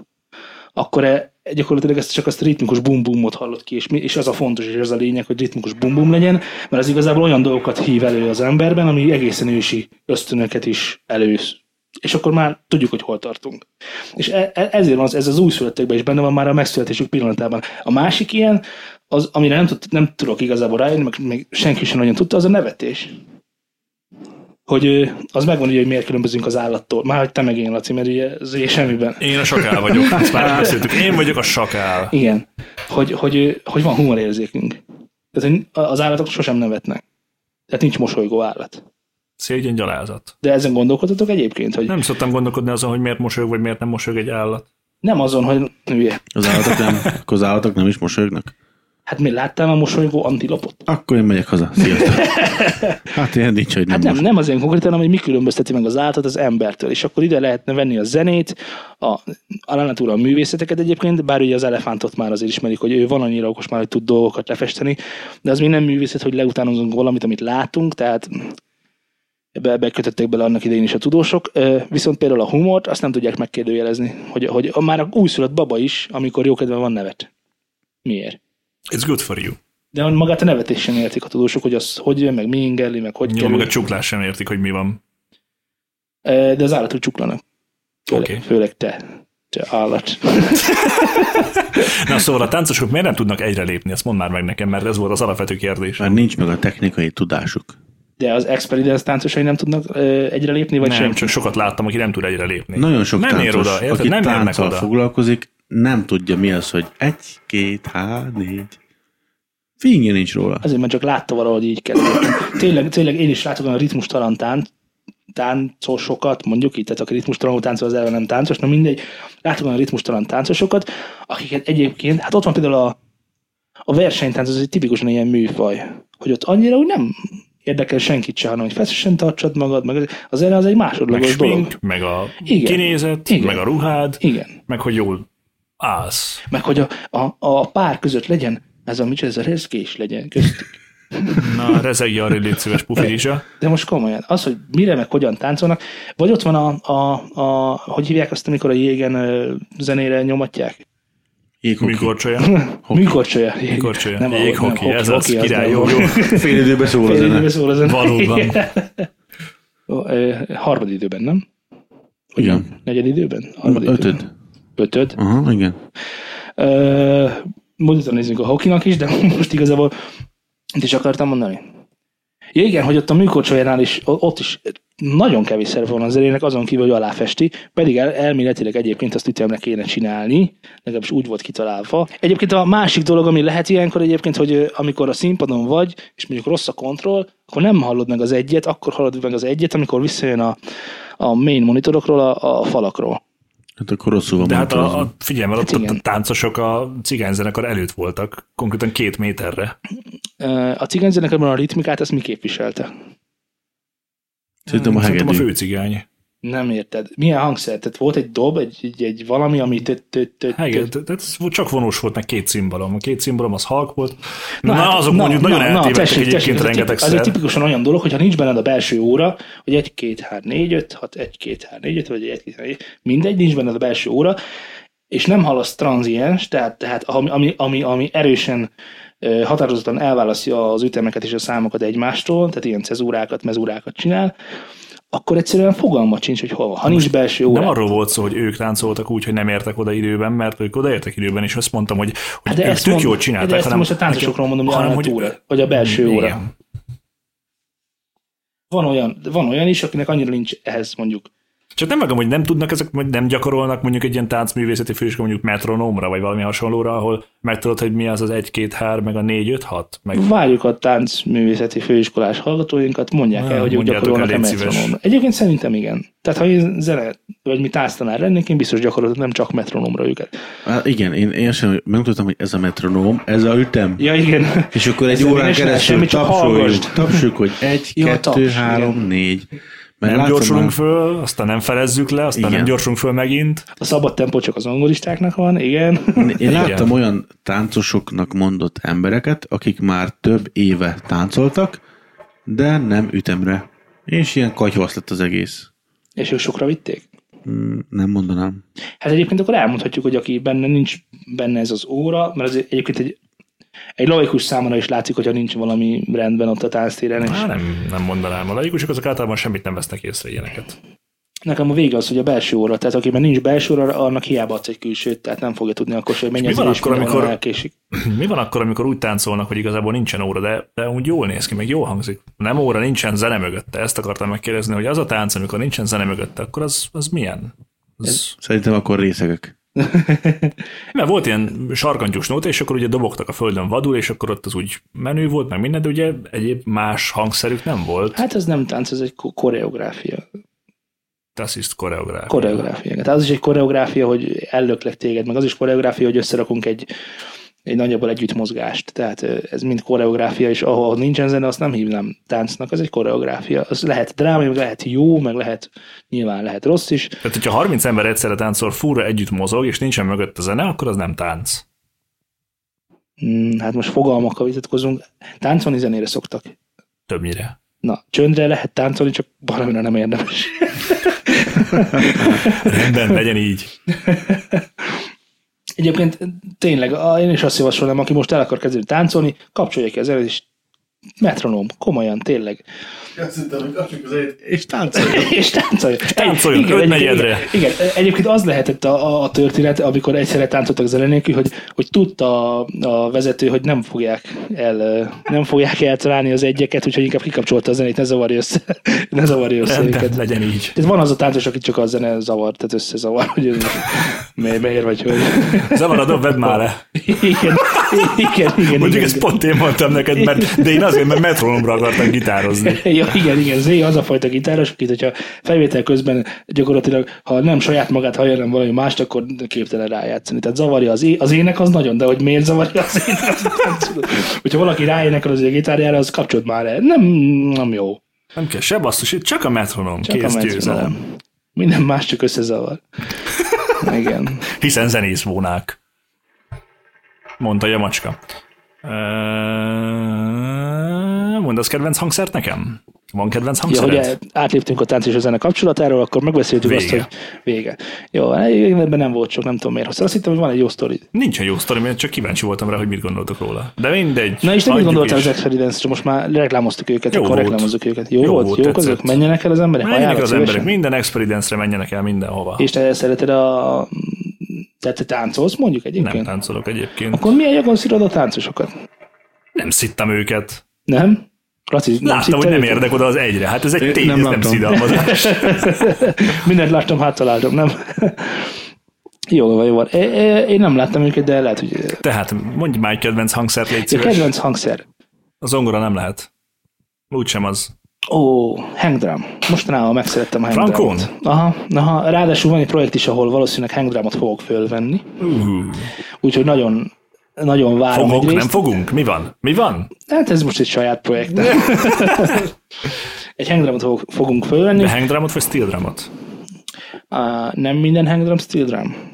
Speaker 2: akkor e, gyakorlatilag ezt csak azt a ritmikus bum-bumot hallott ki, és, mi, és az a fontos, és az a lényeg, hogy ritmikus bum-bum legyen, mert az igazából olyan dolgokat hív elő az emberben, ami egészen ősi ösztönöket is elősz. És akkor már tudjuk, hogy hol tartunk. És e, e, ezért van az, ez az újszülöttekben is benne van már a megszületésük pillanatában. A másik ilyen, az, amire nem, tud, nem tudok igazából rájönni, meg még senki sem nagyon tudta, az a nevetés hogy ö, az megvan, ugye, hogy miért különbözünk az állattól. Már hogy te meg én, Laci, mert ugye az ugye semmiben.
Speaker 3: Én a sakál vagyok, ezt már beszéltük. Én vagyok a sakál.
Speaker 2: Igen. Hogy, hogy, hogy van humorérzékünk. Tehát hogy az állatok sosem nevetnek. Tehát nincs mosolygó állat.
Speaker 3: Szégyen gyalázat.
Speaker 2: De ezen gondolkodtatok egyébként, hogy nem,
Speaker 3: Nem szoktam gondolkodni azon, hogy miért mosolyog, vagy miért nem mosolyog egy állat.
Speaker 2: nem azon, hogy nője.
Speaker 4: Az állatok nem, akkor az állatok nem is mosolyognak.
Speaker 2: Hát mi láttál a mosolygó antilopot?
Speaker 4: Akkor én megyek haza. Sziasztok. Hát ilyen nincs, hogy nem,
Speaker 2: Hát nem,
Speaker 4: nem most.
Speaker 2: nem az én konkrétan, hanem hogy mi különbözteti meg az állatot az embertől. És akkor ide lehetne venni a zenét, a, a lánatúra a művészeteket egyébként, bár ugye az elefántot már azért ismerik, hogy ő van annyira okos már, hogy tud dolgokat lefesteni, de az még nem művészet, hogy leutánozunk valamit, amit látunk, tehát ebbe bekötöttek bele annak idején is a tudósok, Ö, viszont például a humort azt nem tudják megkérdőjelezni, hogy, hogy a- már a újszülött baba is, amikor jókedve van nevet. Miért?
Speaker 3: It's good for you.
Speaker 2: De magát a nevetés sem értik a tudósok, hogy az hogy jön, meg mi ingerli, meg hogy
Speaker 3: Jó, meg
Speaker 2: kerül.
Speaker 3: a csuklás sem értik, hogy mi van.
Speaker 2: Ö, De az állatok csuklanak. Főleg,
Speaker 3: Oké.
Speaker 2: főleg te. Te állat.
Speaker 3: Na szóval a táncosok miért nem tudnak egyre lépni, ezt mondd már meg nekem, mert ez volt az alapvető kérdés.
Speaker 4: Mert nincs meg a technikai tudásuk.
Speaker 2: De az experience táncosai nem tudnak ö, egyre lépni, vagy
Speaker 3: Nem,
Speaker 2: sem?
Speaker 3: csak sokat láttam, aki nem tud egyre lépni.
Speaker 4: Nagyon sok
Speaker 3: nem
Speaker 4: táncos,
Speaker 3: ér oda, érted?
Speaker 4: aki
Speaker 3: Nem érnek
Speaker 4: tánccal
Speaker 3: oda.
Speaker 4: foglalkozik, nem tudja mi az, hogy egy, két, há, négy. Fingja nincs róla.
Speaker 2: Azért, mert csak látta valahogy így kezdett. Tényleg, tényleg én is látok olyan ritmustalan tánc, táncosokat, mondjuk itt, tehát aki ritmustalanul táncol, az elve nem táncos, na mindegy. Látok olyan ritmustalan táncosokat, akiket egyébként, hát ott van például a, a versenytánc, az egy tipikusan ilyen műfaj, hogy ott annyira úgy nem érdekel senkit se, hanem hogy feszesen tartsad magad, meg az zene az egy
Speaker 3: Meg
Speaker 2: másodlagos dolog.
Speaker 3: smink, meg a
Speaker 2: Igen.
Speaker 3: kinézet,
Speaker 2: Igen.
Speaker 3: meg a ruhád,
Speaker 2: Igen.
Speaker 3: meg hogy jól állsz.
Speaker 2: Meg hogy a, a, a pár között legyen ez a micsoda, ez a rezgés legyen köztük.
Speaker 3: Na, rezegj arra, légy szíves pufizsa.
Speaker 2: De most komolyan, az, hogy mire meg hogyan táncolnak, vagy ott van a, a, a hogy hívják azt, amikor a jégen ö, zenére nyomatják?
Speaker 4: Jéghoki.
Speaker 3: Mikor csolja?
Speaker 2: Műkorcsolya. Jég-
Speaker 3: Korcsolya.
Speaker 2: nem a- nem,
Speaker 3: Jéghoki, ez az
Speaker 2: hoki,
Speaker 3: király,
Speaker 2: nem
Speaker 3: jó,
Speaker 2: a-
Speaker 3: jó.
Speaker 4: Fél időben szól a
Speaker 2: Fél
Speaker 4: zene.
Speaker 2: időben szól a zene.
Speaker 3: Valóban.
Speaker 2: Ó, ö, Harmad időben, nem?
Speaker 4: Igen.
Speaker 2: Negyed időben? Harmad Időben.
Speaker 4: Ötöd.
Speaker 2: Ötöd.
Speaker 4: Aha, igen.
Speaker 2: Ö, Monitor nézzünk a hokinak is, de most igazából mit is akartam mondani? Ja igen, hogy ott a műkorcsolyánál is, o- ott is nagyon kevés szerve van az zenének, azon kívül, hogy aláfesti, pedig el, elméletileg egyébként azt ütemre kéne csinálni, legalábbis úgy volt kitalálva. Egyébként a másik dolog, ami lehet ilyenkor egyébként, hogy ö, amikor a színpadon vagy, és mondjuk rossz a kontroll, akkor nem hallod meg az egyet, akkor hallod meg az egyet, amikor visszajön a, a main monitorokról, a, a falakról.
Speaker 4: Hát akkor rosszul van
Speaker 3: De hát a,
Speaker 4: monitorozva.
Speaker 3: a figyelj, mert ott, ott
Speaker 2: igen.
Speaker 3: a táncosok a cigányzenekar előtt voltak, konkrétan két méterre.
Speaker 2: Ö, A cigányzenek ebben a ritmikát, ezt mi képviselte?
Speaker 4: Szerintem a
Speaker 3: Szerintem a
Speaker 4: hegedű.
Speaker 3: fő cigány.
Speaker 2: Nem érted. Milyen hangszer? Tehát volt egy dob, egy, egy, egy valami, ami... tö- tö- tö- tö-
Speaker 3: Heged, tehát ez csak vonós volt, meg két cimbalom. A két cimbalom az halk volt.
Speaker 2: Na
Speaker 3: Na, na
Speaker 2: hát,
Speaker 3: azok na, mondjuk na, nagyon eltévedtek
Speaker 2: tessék, tessék,
Speaker 3: egyébként
Speaker 2: ez egy
Speaker 3: rengeteg
Speaker 2: tipi- Az egy
Speaker 3: szer.
Speaker 2: tipikusan olyan dolog, hogyha nincs benned a belső óra, hogy 1, 2, 3, 4, 5, 6, 1, 2, 3, 4, 5, vagy 1, 2, 3, 4, mindegy, nincs benned a belső óra, és nem hallasz tranziens, tehát, tehát ami, ami, ami, ami erősen ö, határozottan elválasztja az ütemeket és a számokat egymástól, tehát ilyen cezúrákat, mezúrákat csinál, akkor egyszerűen fogalmat sincs, hogy hol van. Ha nincs belső óra,
Speaker 3: Nem arról volt szó, hogy ők táncoltak úgy, hogy nem értek oda időben, mert ők odaértek időben, és azt mondtam, hogy, hogy
Speaker 2: Hát de
Speaker 3: ők
Speaker 2: ezt
Speaker 3: tök
Speaker 2: mond-
Speaker 3: jól
Speaker 2: De
Speaker 3: csinálták.
Speaker 2: ezt most a táncosokról mondom, hogy hanem, hogy, túl, vagy a belső
Speaker 3: Igen.
Speaker 2: óra. Van olyan, van olyan is, akinek annyira nincs ehhez mondjuk.
Speaker 3: Csak hát nem vágom, hogy nem tudnak ezek, vagy nem gyakorolnak mondjuk egy ilyen táncművészeti főiskola, mondjuk metronómra, vagy valami hasonlóra, ahol megtudod, hogy mi az az 1, 2, 3, meg a 4, 5, 6, meg
Speaker 2: Várjuk a táncművészeti főiskolás hallgatóinkat, mondják
Speaker 3: Na,
Speaker 2: el, hogy ők
Speaker 3: mondjátok el,
Speaker 2: gyakorolnak a
Speaker 3: légy szíves.
Speaker 2: metronomra. Egyébként szerintem igen. Tehát ha én zene, vagy mi tánctanár lennék, én biztos gyakoroltam nem csak metronomra őket.
Speaker 4: Hát igen, én, én sem nem tudtam, hogy ez a metronóm, ez a ütem.
Speaker 2: Ja, igen.
Speaker 4: És akkor egy
Speaker 2: Ezzel én
Speaker 4: órán
Speaker 2: is lehet
Speaker 4: keresztül
Speaker 2: semmit, csak
Speaker 4: tapsoljuk,
Speaker 2: hallgassd.
Speaker 4: tapsoljuk, hogy egy,
Speaker 2: Jó,
Speaker 4: kettő,
Speaker 2: taps,
Speaker 4: három, négy. Mert
Speaker 3: nem
Speaker 4: látszom
Speaker 3: gyorsulunk
Speaker 4: már-
Speaker 3: föl, aztán nem felezzük le, aztán
Speaker 4: Igen.
Speaker 3: nem gyorsulunk föl megint.
Speaker 2: A szabad tempó csak az angolistáknak van, igen.
Speaker 4: Én láttam olyan táncosoknak mondott embereket, akik már több éve táncoltak, de nem ütemre. És ilyen katyvasz lett az egész.
Speaker 2: És ők sokra vitték.
Speaker 4: Mm, Nem mondanám.
Speaker 2: Hát egyébként akkor elmondhatjuk, hogy aki benne nincs benne ez az óra, mert az egyébként egy, egy laikus számára is látszik, hogyha nincs valami rendben ott a tánctéren, és
Speaker 3: Hát nem, nem mondanám. A laikusok azok általában semmit nem vesznek észre ilyeneket.
Speaker 2: Nekem a vége az, hogy a belső óra, tehát akiben nincs belső óra, annak hiába adsz egy külsőt, tehát nem fogja tudni akkor se, hogy menjen
Speaker 3: mi van
Speaker 2: és
Speaker 3: akkor,
Speaker 2: mire van,
Speaker 3: amikor-
Speaker 2: elkésik.
Speaker 3: Mi van akkor, amikor úgy táncolnak, hogy igazából nincsen óra, de, de úgy jól néz ki, meg jól hangzik. Nem óra, nincsen zene mögötte. Ezt akartam megkérdezni, hogy az a tánc, amikor nincsen zene mögötte, akkor az, az milyen? Az...
Speaker 4: Szerintem akkor részegek.
Speaker 3: Mert volt ilyen sarkantyús nóta, és akkor ugye dobogtak a földön vadul, és akkor ott az úgy menő volt, meg minden, de ugye egyéb más hangszerük nem volt.
Speaker 2: Hát ez nem tánc, ez egy ko- koreográfia.
Speaker 3: Hát Tassist koreográf.
Speaker 2: Koreográfia. Tehát az is egy koreográfia, hogy ellöklek téged, meg az is koreográfia, hogy összerakunk egy, egy nagyjából együtt mozgást. Tehát ö, ez mind koreográfia, és ahol ahol nincsen zene, azt nem hívnám táncnak, az egy koreográfia. Az lehet drámai, meg lehet jó, meg lehet nyilván lehet rossz is.
Speaker 3: Tehát, hogyha 30 ember egyszerre táncol, furra együtt mozog, és nincsen mögött a zene, akkor az nem tánc.
Speaker 2: Hmm, hát most fogalmakkal vitatkozunk. Táncolni zenére szoktak.
Speaker 3: Többnyire.
Speaker 2: Na, csöndre lehet táncolni, csak valamire nem érdemes.
Speaker 3: Rendben, legyen így.
Speaker 2: Egyébként tényleg, a- én is azt javasolnám, aki most el akar kezdeni táncolni, kapcsolja ki az zenét, és metronóm, komolyan, tényleg.
Speaker 4: És táncolj.
Speaker 2: És táncolja. És
Speaker 3: táncoljon, ötnegyedre.
Speaker 2: Igen, igen, egyébként az lehetett a, a, a történet, amikor egyszerre táncoltak zene nélkül, hogy, hogy tudta a, a vezető, hogy nem fogják, el, ö, nem fogják eltalálni az egyeket, úgyhogy inkább kikapcsolta a zenét, ne zavarja össze, ne zavarja össze
Speaker 3: Rendben,
Speaker 2: őket.
Speaker 3: legyen így.
Speaker 2: Tehát van az a táncos, aki csak a zene zavar, tehát összezavar, hogy ez mi- miért vagy hogy.
Speaker 3: Zavarad, vedd már le.
Speaker 2: Igen. igen, igen.
Speaker 3: Mondjuk
Speaker 2: igen,
Speaker 3: ezt pont én mondtam neked, mert, de én azért, mert metronomra akartam gitározni.
Speaker 2: Ja, igen, igen, Zé az a fajta gitáros, akit, hogyha felvétel közben gyakorlatilag, ha nem saját magát hallja, hanem valami mást, akkor képtelen rájátszani. Tehát zavarja az, é- az ének, az nagyon, de hogy miért zavarja az ének, azt nem tudom. Hogyha valaki ráénekel az ő gitárjára, az kapcsolod már el. Nem, nem jó.
Speaker 3: Nem kell se basszus, itt csak a metronom, csak
Speaker 2: Csak
Speaker 3: kész
Speaker 2: a
Speaker 3: a
Speaker 2: metronom.
Speaker 3: győzelem.
Speaker 2: Minden más csak összezavar. Igen.
Speaker 3: Hiszen zenészvónák. Mondta Jamacska. Ö, Mondasz kedvenc hangszert nekem? Van kedvenc
Speaker 2: Ja,
Speaker 3: hangszered?
Speaker 2: hogy átléptünk a tánc és a zene kapcsolatáról, akkor megbeszéltük azt,
Speaker 3: Vége.
Speaker 2: hogy vége. Jó, hát ebben nem volt sok, nem tudom miért. Azt hittem, hogy van egy jó sztorid.
Speaker 3: Nincs egy jó sztorim, én csak kíváncsi voltam rá, hogy mit gondoltok róla. De mindegy.
Speaker 2: Na és te mit
Speaker 3: hagyjuk
Speaker 2: gondoltál
Speaker 3: is.
Speaker 2: az Experidence-ről? Most már reklámoztuk őket,
Speaker 3: Jó
Speaker 2: akkor
Speaker 3: volt.
Speaker 2: reklámozzuk őket. Jó,
Speaker 3: Jó
Speaker 2: volt?
Speaker 3: volt,
Speaker 2: Jók
Speaker 3: tetszett.
Speaker 2: azok? Menjenek el az emberek?
Speaker 3: Menjenek
Speaker 2: Ajánlod
Speaker 3: az emberek,
Speaker 2: szívesen?
Speaker 3: minden experience-re menjenek el mindenhova.
Speaker 2: És te szereted a... Tehát te táncolsz mondjuk egyébként?
Speaker 3: Nem táncolok egyébként.
Speaker 2: Akkor milyen jogon szírod a táncosokat?
Speaker 3: Nem szittem őket.
Speaker 2: Nem? Laci, nem
Speaker 3: Láttam, hogy
Speaker 2: szitted
Speaker 3: nem
Speaker 2: őket?
Speaker 3: érdek oda az egyre. Hát ez egy
Speaker 4: Én
Speaker 3: tény,
Speaker 4: nem
Speaker 3: ez nem
Speaker 4: láttam.
Speaker 3: szidalmazás.
Speaker 2: Mindent láttam, háttaláltam, nem? jó van, jó van. É- é- Én nem láttam őket, de lehet, hogy...
Speaker 3: Tehát mondj már egy kedvenc hangszert, légy
Speaker 2: Ja,
Speaker 3: szíves.
Speaker 2: kedvenc hangszer.
Speaker 3: A zongora nem lehet. Úgysem az.
Speaker 2: Ó, hangdrum. Mostanában megszerettem a
Speaker 3: Frankon?
Speaker 2: hangdrumot. Aha, aha, ráadásul van egy projekt is, ahol valószínűleg hangdrumot fogok fölvenni.
Speaker 3: Uh,
Speaker 2: Úgyhogy nagyon, nagyon várom
Speaker 3: fogok,
Speaker 2: egyrészt.
Speaker 3: nem fogunk? Mi van? Mi van?
Speaker 2: Hát ez most egy saját projekt. egy hangdrumot fog- fogunk fölvenni.
Speaker 3: De hangdrámot vagy steel drámot?
Speaker 2: Uh, nem minden hangdrum steel drum.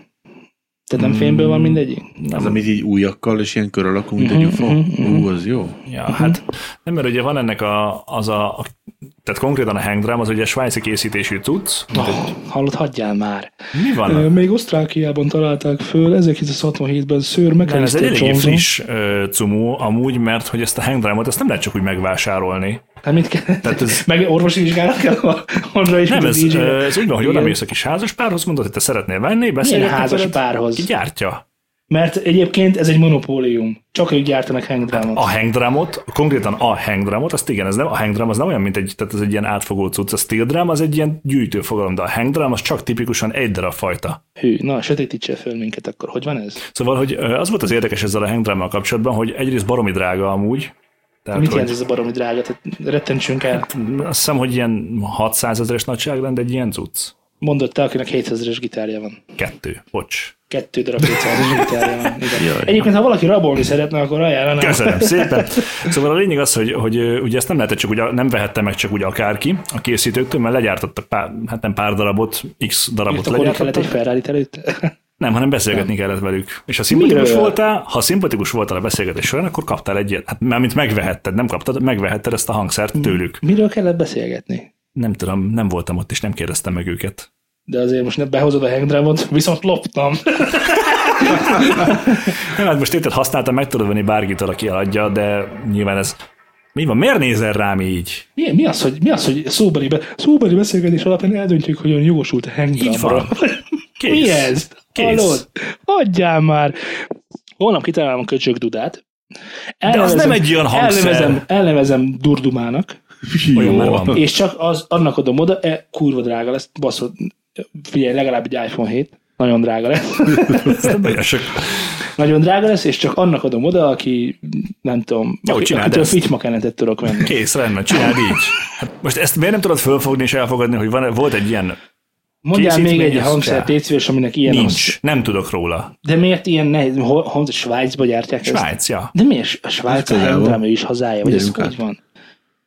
Speaker 2: Tehát
Speaker 3: Mm.
Speaker 2: nem fémből van mindegyik?
Speaker 4: Az, amit így újakkal, és ilyen kör alakú, mint egy UFO. Ú, az jó.
Speaker 3: Ja,
Speaker 2: Mhm.
Speaker 3: hát nem, mert ugye van ennek a, az a, a tehát konkrétan a hangdrám, az ugye svájci készítésű tudsz.
Speaker 2: Oh, hallod, hagyjál már.
Speaker 3: Mi van?
Speaker 2: Ö, Még Osztrákiában találták föl 1967-ben Sir
Speaker 3: Nem, ez egy
Speaker 2: McAllister
Speaker 3: eléggé
Speaker 2: Johnson.
Speaker 3: friss ö, cumó amúgy, mert hogy ezt a hangdrámot, ezt nem lehet csak úgy megvásárolni.
Speaker 2: Hát mit kell? Tehát ez... Meg orvosi vizsgálat kell a honra is.
Speaker 3: Nem,
Speaker 2: mint a
Speaker 3: ez,
Speaker 2: DJ-re.
Speaker 3: ö, ez úgy van, hogy
Speaker 2: Igen.
Speaker 3: oda mész a kis házaspárhoz, mondod, hogy te szeretnél venni, beszélni.
Speaker 2: házas párhoz?
Speaker 3: Ki gyártja
Speaker 2: Mert egyébként ez egy monopólium. Csak ők gyártanak hangdrámot.
Speaker 3: a hangdrámot, konkrétan a hangdrámot, azt igen, ez nem, a hangdrám az nem olyan, mint egy, tehát ez egy ilyen átfogó cucc, a steel drum az egy ilyen gyűjtő fogalom, de a hangdrám az csak tipikusan egy darab fajta.
Speaker 2: Hű, na, sötétítse föl minket akkor. Hogy van ez?
Speaker 3: Szóval, hogy ö, az volt az érdekes ezzel a hangdrámmal kapcsolatban, hogy egyrészt baromi drága amúgy, tehát,
Speaker 2: Mit
Speaker 3: hogy
Speaker 2: jelent ez a baromi drága? Tehát rettentsünk el.
Speaker 3: azt hiszem, hogy ilyen 600 ezeres nagyságrend egy ilyen cucc.
Speaker 2: Mondott te, akinek 7000-es gitárja van.
Speaker 3: Kettő, bocs.
Speaker 2: Kettő darab 700-es gitárja van. Igen.
Speaker 4: Jaj.
Speaker 2: Egyébként, ha valaki rabolni szeretne, akkor ajánlanám.
Speaker 3: Köszönöm szépen. Szóval a lényeg az, hogy, hogy ö, ugye ezt nem lehetett csak, ugye, nem vehette meg csak úgy akárki a készítőktől, mert legyártottak pár, hát nem pár darabot, x darabot
Speaker 2: Ott akkor kellett egy
Speaker 3: legyártottak.
Speaker 2: ferrari előtt.
Speaker 3: Nem, hanem beszélgetni kellett velük. És ha szimpatikus
Speaker 2: Miről?
Speaker 3: voltál, ha szimpatikus voltál a beszélgetés során, akkor kaptál egy ilyet. Hát mármint megvehetted, nem kaptad, megvehetted ezt a
Speaker 2: Mm.
Speaker 3: hangszert tőlük.
Speaker 2: Miről kellett beszélgetni?
Speaker 3: Nem tudom, nem voltam ott, és nem kérdeztem meg őket.
Speaker 2: De azért most nem behozod a hangdrámot, viszont loptam.
Speaker 3: Nem, hát most érted, használtam, meg tudod venni bárkitől, aki eladja, de nyilván ez... Mi van, miért nézel rám így?
Speaker 2: Mi, mi, az, hogy, mi az, hogy szóbeli, be, szóbeli beszélgetés alapján eldöntjük, hogy ön jogosult a hangdrámra?
Speaker 3: Így van. Kész.
Speaker 2: Mi ez?
Speaker 3: Kész.
Speaker 2: Hallod? Adjál már! Holnap kitalálom a köcsög dudát.
Speaker 3: az nem egy olyan hangszer.
Speaker 2: Elnevezem, elnevezem durdumának,
Speaker 3: Olyan már van.
Speaker 2: és csak az, annak adom oda, e, kurva drága lesz, baszod, figyelj, legalább egy iPhone 7, nagyon drága lesz.
Speaker 3: Ezt nagyon sok.
Speaker 2: nagyon drága lesz, és csak annak adom oda, aki nem tudom,
Speaker 3: Jó,
Speaker 2: aki,
Speaker 3: csináld
Speaker 2: akitől
Speaker 3: ezt.
Speaker 2: fitymakenetet tudok venni.
Speaker 3: Kész, rendben, csináld így. Hát most ezt miért nem tudod fölfogni és elfogadni, hogy van, volt egy ilyen?
Speaker 2: Mondjál még
Speaker 3: Készítmény,
Speaker 2: egy
Speaker 3: azt
Speaker 2: hangszert,
Speaker 3: csinál.
Speaker 2: légy szíves, aminek ilyen hangsz-
Speaker 3: Nincs, nem tudok róla.
Speaker 2: De miért ilyen nehéz? Hol, hol Svájcba gyártják ezt?
Speaker 3: Svájc, ja.
Speaker 2: De miért a Svájc a
Speaker 4: Hát közel van.
Speaker 2: hangdráma is hazája, vagy ez
Speaker 4: Gyerünk
Speaker 2: hogy
Speaker 4: át.
Speaker 2: van?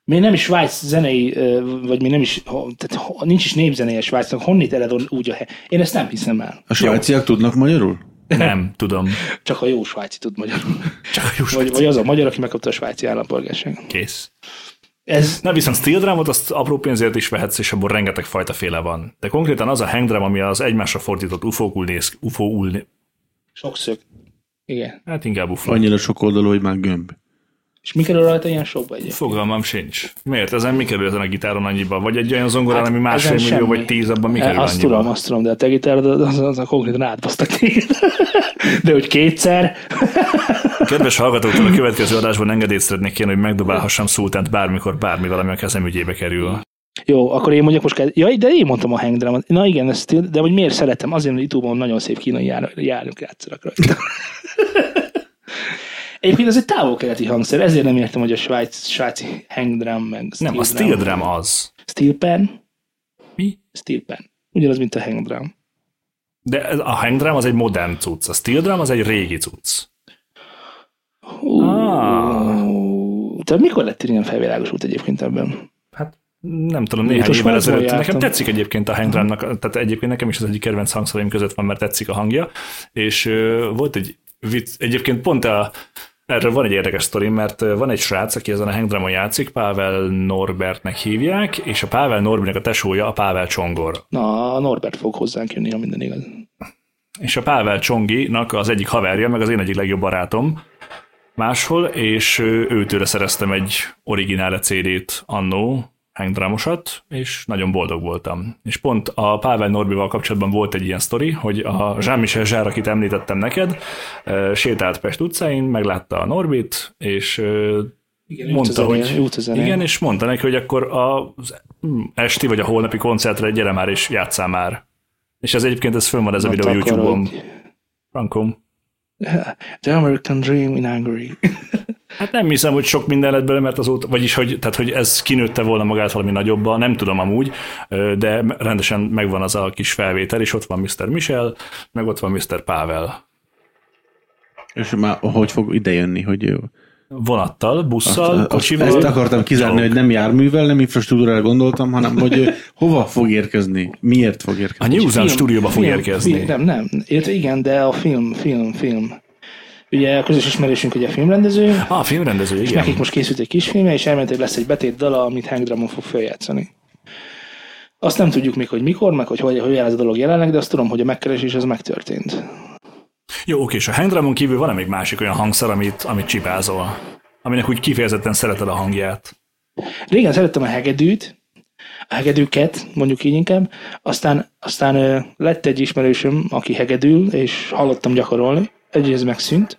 Speaker 2: Mi nem is Svájc zenei, ö, vagy mi nem is, ho- tehát ho- nincs is népzenéje Svájcnak, honnét ered úgy a hely. Én ezt nem hiszem el.
Speaker 4: A svájciak tudnak magyarul?
Speaker 3: Nem, tudom.
Speaker 2: Csak a jó svájci tud magyarul.
Speaker 3: Csak a jó
Speaker 2: Vagy, vagy az a magyar, aki megkapta a svájci állampolgárságot.
Speaker 3: Kész.
Speaker 2: Ez
Speaker 3: Na viszont steel drumot azt apró pénzért is vehetsz, és abból rengeteg fajta féle van. De konkrétan az a hangdrum, ami az egymásra fordított ufókul néz, ufóul, né-
Speaker 2: sokszög. Igen.
Speaker 3: hát inkább ufó.
Speaker 4: Annyira sok oldalú, hogy már gömb.
Speaker 2: És mi kerül rajta ilyen sokba egy?
Speaker 3: Fogalmam sincs. Miért? Ezen mi kerül ezen a gitáron annyiba? Vagy egy olyan zongorán, hát, ami másfél
Speaker 2: ezen
Speaker 3: millió,
Speaker 2: semmi.
Speaker 3: vagy tíz, abban mi
Speaker 2: E,
Speaker 3: kerül
Speaker 2: Azt
Speaker 3: annyiba?
Speaker 2: tudom, azt tudom, de a te gitárod az, az a konkrétan átbasztak téged. De hogy kétszer,
Speaker 3: Kedves hallgatóktól a következő adásban engedélyt szeretnék kérni, hogy megdobálhassam szultánt bármikor, bármivel, ami a kezem ügyébe kerül.
Speaker 2: Jó, akkor én mondjak most kell... Ja, de én mondtam a hangdrámat. Na igen, ezt, ti- de hogy miért szeretem? Azért, mert YouTube-on nagyon szép kínai jár, járunk játszanak rajta. Egyébként ez egy távol-keleti hangszer, ezért nem értem, hogy a svájc, svájci hangdrum, meg steel
Speaker 3: Nem, a steel drum az.
Speaker 2: Steel pen,
Speaker 3: Mi?
Speaker 2: steel pen. Ugyanaz, mint a hangdrum.
Speaker 3: De ez, a hang drum az egy modern cucc, a steel drum az egy régi cucc.
Speaker 2: Hú.
Speaker 3: Ah.
Speaker 2: Te mikor lett ilyen felvilágosult egyébként ebben?
Speaker 3: Hát nem tudom, néhány
Speaker 2: Mikor
Speaker 3: évvel
Speaker 2: Svájcban
Speaker 3: ezelőtt.
Speaker 2: jártam.
Speaker 3: Nekem tetszik egyébként a hangdrámnak, tehát egyébként nekem is az egyik kedvenc hangszereim között van, mert tetszik a hangja, és ö, volt egy vicc, egyébként pont a, erről van egy érdekes sztori, mert ö, van egy srác, aki ezen a hangdrámon játszik, Pável Norbertnek hívják, és a Pável Norbertnek a tesója a Pável Csongor.
Speaker 2: Na, a Norbert fog hozzánk jönni, ha minden igaz.
Speaker 3: És a Pável Csonginak az egyik haverja, meg az én egyik legjobb barátom, máshol, és ö, őtőle szereztem egy originál CD-t annó, hangdrámosat, és nagyon boldog voltam. És pont a Pável Norbival kapcsolatban volt egy ilyen sztori, hogy a Jean-Michel Zsár, akit említettem neked, ö, sétált Pest utcáin, meglátta a Norbit, és ö,
Speaker 2: Igen,
Speaker 3: mondta,
Speaker 2: út a zenél,
Speaker 3: hogy
Speaker 2: út a zenél.
Speaker 3: igen, és mondta neki, hogy akkor az esti vagy a holnapi koncertre gyere már és játszál már. És ez egyébként ez fönn van ez a videó
Speaker 2: Takarod.
Speaker 3: YouTube-on. Frankom.
Speaker 2: The American Dream in Hungary.
Speaker 3: Hát nem hiszem, hogy sok minden lett belőle, mert azóta, vagyis, hogy, tehát, hogy ez kinőtte volna magát valami nagyobba, nem tudom amúgy, ö, de rendesen megvan az a kis felvétel, és ott van Mr. Michel, meg ott van Mr. Pável.
Speaker 4: És már hogy fog idejönni, hogy ő-
Speaker 3: Vonattal, busszal,
Speaker 4: Azt-
Speaker 3: kocsival.
Speaker 4: Hát, Ezt akartam kizárni,
Speaker 3: gyalog.
Speaker 4: hogy nem járművel, nem infrastruktúrára gondoltam, hanem hogy ő hova fog érkezni, miért fog
Speaker 3: A
Speaker 4: érkezni.
Speaker 3: New Zealand
Speaker 2: Film,
Speaker 3: stúdióba fog
Speaker 2: film,
Speaker 3: érkezni.
Speaker 2: Film, nem, nem. Illetve igen, de a film, film, film. Ugye a közös ismerősünk ugye a filmrendező,
Speaker 3: Ah, a filmrendező, igen.
Speaker 2: nekik most készült egy kis filmje, és elméletileg lesz egy betét dala, amit Hank Drummond fog feljátszani. Azt nem tudjuk még, hogy mikor, meg hogy hogy, hogy áll ez a dolog jelenleg, de azt tudom, hogy a megkeresés az megtörtént.
Speaker 3: Jó, oké, és a hangdrumon kívül van-e még másik olyan hangszer, amit, amit csipázol? Aminek úgy kifejezetten szereted a hangját.
Speaker 2: Régen szerettem a hegedűt, a hegedűket, mondjuk így inkább, aztán, aztán ö, lett egy ismerősöm, aki hegedül, és hallottam gyakorolni, egyrészt megszűnt.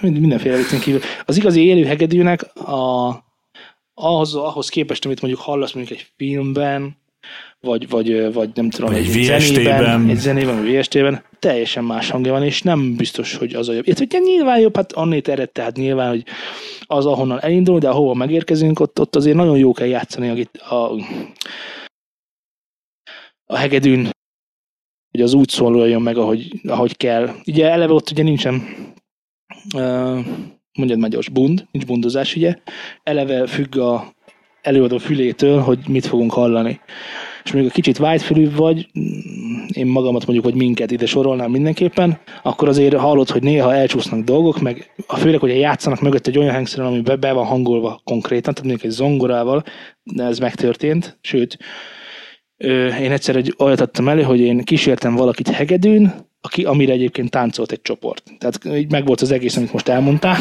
Speaker 2: Mind- Hát Mindenféle viccen kívül. Az igazi élő hegedűnek a, ahhoz, ahhoz képest, amit mondjuk hallasz mondjuk egy filmben, vagy, vagy, ö, vagy nem tudom,
Speaker 3: Vagy egy VST-ben.
Speaker 2: egy zenében, vagy VST-ben, teljesen más hangja van, és nem biztos, hogy az a jobb. Itt ugye nyilván jobb, hát annét ered, tehát nyilván, hogy az, ahonnan elindul, de ahova megérkezünk, ott, ott azért nagyon jó kell játszani a, git- a, a hegedűn, hogy az úgy szólaljon meg, ahogy, ahogy kell. Ugye eleve ott ugye nincsen uh, mondjad már gyors, bund, nincs bundozás, ugye, eleve függ a előadó fülétől, hogy mit fogunk hallani. És még a kicsit vágyfülűbb vagy, mm, én magamat mondjuk, vagy minket ide sorolnám mindenképpen, akkor azért hallod, hogy néha elcsúsznak dolgok, meg a főleg, hogy játszanak mögött egy olyan hangszeren, ami be, be van hangolva konkrétan, tehát mondjuk egy zongorával, de ez megtörtént, sőt, ö, én egyszer egy olyat adtam elő, hogy én kísértem valakit hegedűn, aki, amire egyébként táncolt egy csoport. Tehát így megvolt az egész, amit most elmondtál.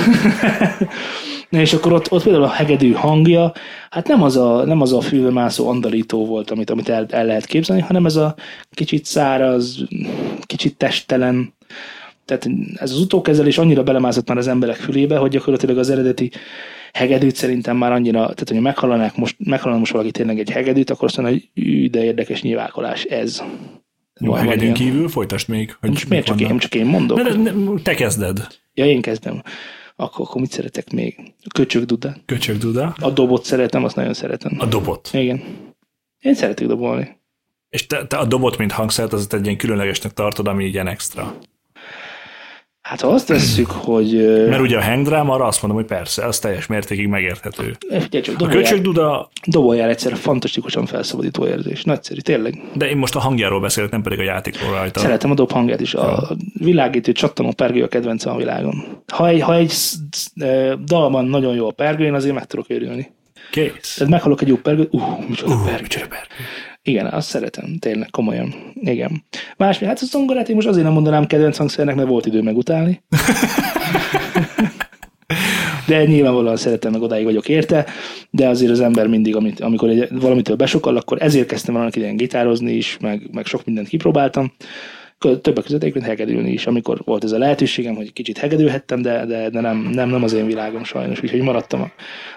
Speaker 2: Na és akkor ott, ott például a hegedű hangja, hát nem az a, nem az a fülbemászó andalító volt, amit, amit el, el, lehet képzelni, hanem ez a kicsit száraz, kicsit testelen, tehát ez az utókezelés annyira belemászott már az emberek fülébe, hogy gyakorlatilag az eredeti hegedűt szerintem már annyira, tehát hogyha meghallanák most, meghallan most valaki tényleg egy hegedűt, akkor azt mondja, hogy ű, de érdekes nyilválkolás ez.
Speaker 3: Jó,
Speaker 2: Van- van
Speaker 3: hegedűn
Speaker 2: ilyen.
Speaker 3: kívül folytasd még. Hogy
Speaker 2: Most miért
Speaker 3: mik
Speaker 2: csak én,
Speaker 3: vannak.
Speaker 2: csak én mondok?
Speaker 3: Ne, ne, ne, te kezded.
Speaker 2: Ja, én kezdem. Akkor, akkor mit szeretek még? A köcsög dudát.
Speaker 3: Köcsög Duda.
Speaker 2: A dobot szeretem, azt nagyon szeretem.
Speaker 3: A dobot.
Speaker 2: Igen. Én szeretek dobolni.
Speaker 3: És te, te a dobot, mint hangszert, az egy ilyen különlegesnek tartod, ami ilyen extra.
Speaker 2: Hát ha azt tesszük, hogy... ö,
Speaker 3: Mert ugye a hangdrám arra azt mondom, hogy persze, az teljes mértékig megérthető.
Speaker 2: Figyelj csak,
Speaker 3: A
Speaker 2: doboljál,
Speaker 3: köcsög Duda,
Speaker 2: doboljál egyszer, fantasztikusan felszabadító érzés. Nagyszerű, tényleg.
Speaker 3: de én most a hangjáról beszélek, nem pedig a játékról rajta.
Speaker 2: Szeretem a dob hangját is. A világítő csattanó pergő a kedvencem a világon. Ha egy, ha egy sz- sz- ö, dalban nagyon jó a pergő, én azért meg tudok örülni.
Speaker 3: Kész.
Speaker 2: Tehát meghallok egy jó pergőt, uh, micsoda uh, pergő.
Speaker 3: Micsoda pergő.
Speaker 2: Igen, azt szeretem, tényleg, komolyan. Igen. Másmi, hát a zongorát én most azért nem mondanám kedvenc hangszernek, mert volt idő megutálni. De nyilvánvalóan szeretem, meg odáig vagyok érte, de azért az ember mindig, amit, amikor egy, valamitől besokal, akkor ezért kezdtem valamit ilyen gitározni is, meg, meg sok mindent kipróbáltam. Kö- Többek között egyébként hegedülni is, amikor volt ez a lehetőségem, hogy kicsit hegedülhettem, de, de, de nem, nem, nem az én világom sajnos, úgyhogy maradtam a,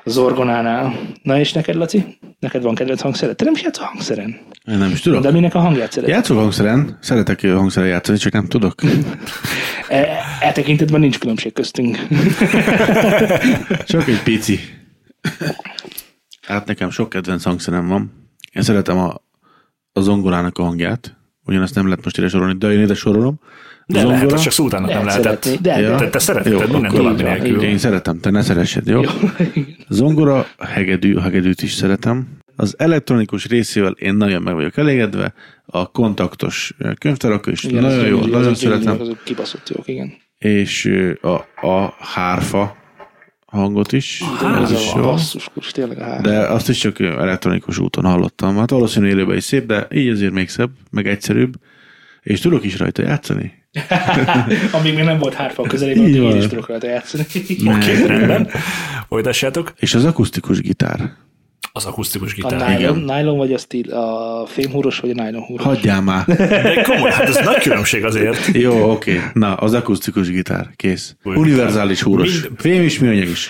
Speaker 2: az orgonánál. Na és neked, Laci? Neked van kedvenc hangszered? Te nem is játszol hangszeren?
Speaker 4: Én nem is tudok.
Speaker 2: De minek a hangját szeret?
Speaker 4: Játszok hangszeren, szeretek hangszeren játszani, csak nem tudok.
Speaker 2: E, e tekintetben nincs különbség köztünk.
Speaker 4: Csak egy pici. Hát nekem sok kedvenc hangszerem van. Én szeretem a, a zongorának a hangját. Ugyanazt nem lehet most ide sorolni, de én ide sorolom.
Speaker 3: De lehet, az csak szótának nem
Speaker 2: Lehet
Speaker 3: lehetett.
Speaker 2: szeretni, de-
Speaker 3: Te-
Speaker 2: de-
Speaker 3: Te
Speaker 4: Jó,
Speaker 3: szeretted minden
Speaker 4: akkor
Speaker 3: további
Speaker 2: így van,
Speaker 3: nélkül.
Speaker 2: így
Speaker 4: Én szeretem, te ne szeressed, jó? jó. Zongora, hegedű, a hegedűt is szeretem. Az elektronikus részével én nagyon meg vagyok elégedve, a kontaktos eh, könyvtárak is igen, nagyon jó,
Speaker 2: az-
Speaker 4: nagyon
Speaker 2: az-
Speaker 4: szeretem,
Speaker 2: Azok kibaszott jók, igen.
Speaker 4: és eh, a, a hárfa hangot is, Ah, ez is jó.
Speaker 2: Basszus, kus, tényleg a hár.
Speaker 4: De azt is csak elektronikus úton hallottam. Hát valószínűleg élőben is szép, de így azért még szebb, meg egyszerűbb. És tudok is rajta játszani.
Speaker 2: Amíg még nem volt hárfa a közelében, addig
Speaker 4: van.
Speaker 2: én is tudok rajta játszani.
Speaker 3: Oké, rendben. Folytassátok.
Speaker 4: Eh, És az akusztikus gitár.
Speaker 3: Az akusztikus
Speaker 2: A
Speaker 3: gitár.
Speaker 2: nylon, nylon vagy a, stíl, a fémhúros, vagy a nylon húros?
Speaker 4: Hagyjál már!
Speaker 3: De komoly, hát ez nagy különbség azért.
Speaker 4: Jó, oké. Okay. Na, az akusztikus gitár. Kész.
Speaker 3: Olyan.
Speaker 4: Univerzális húros.
Speaker 3: Mind-
Speaker 4: Fém is, műanyag is.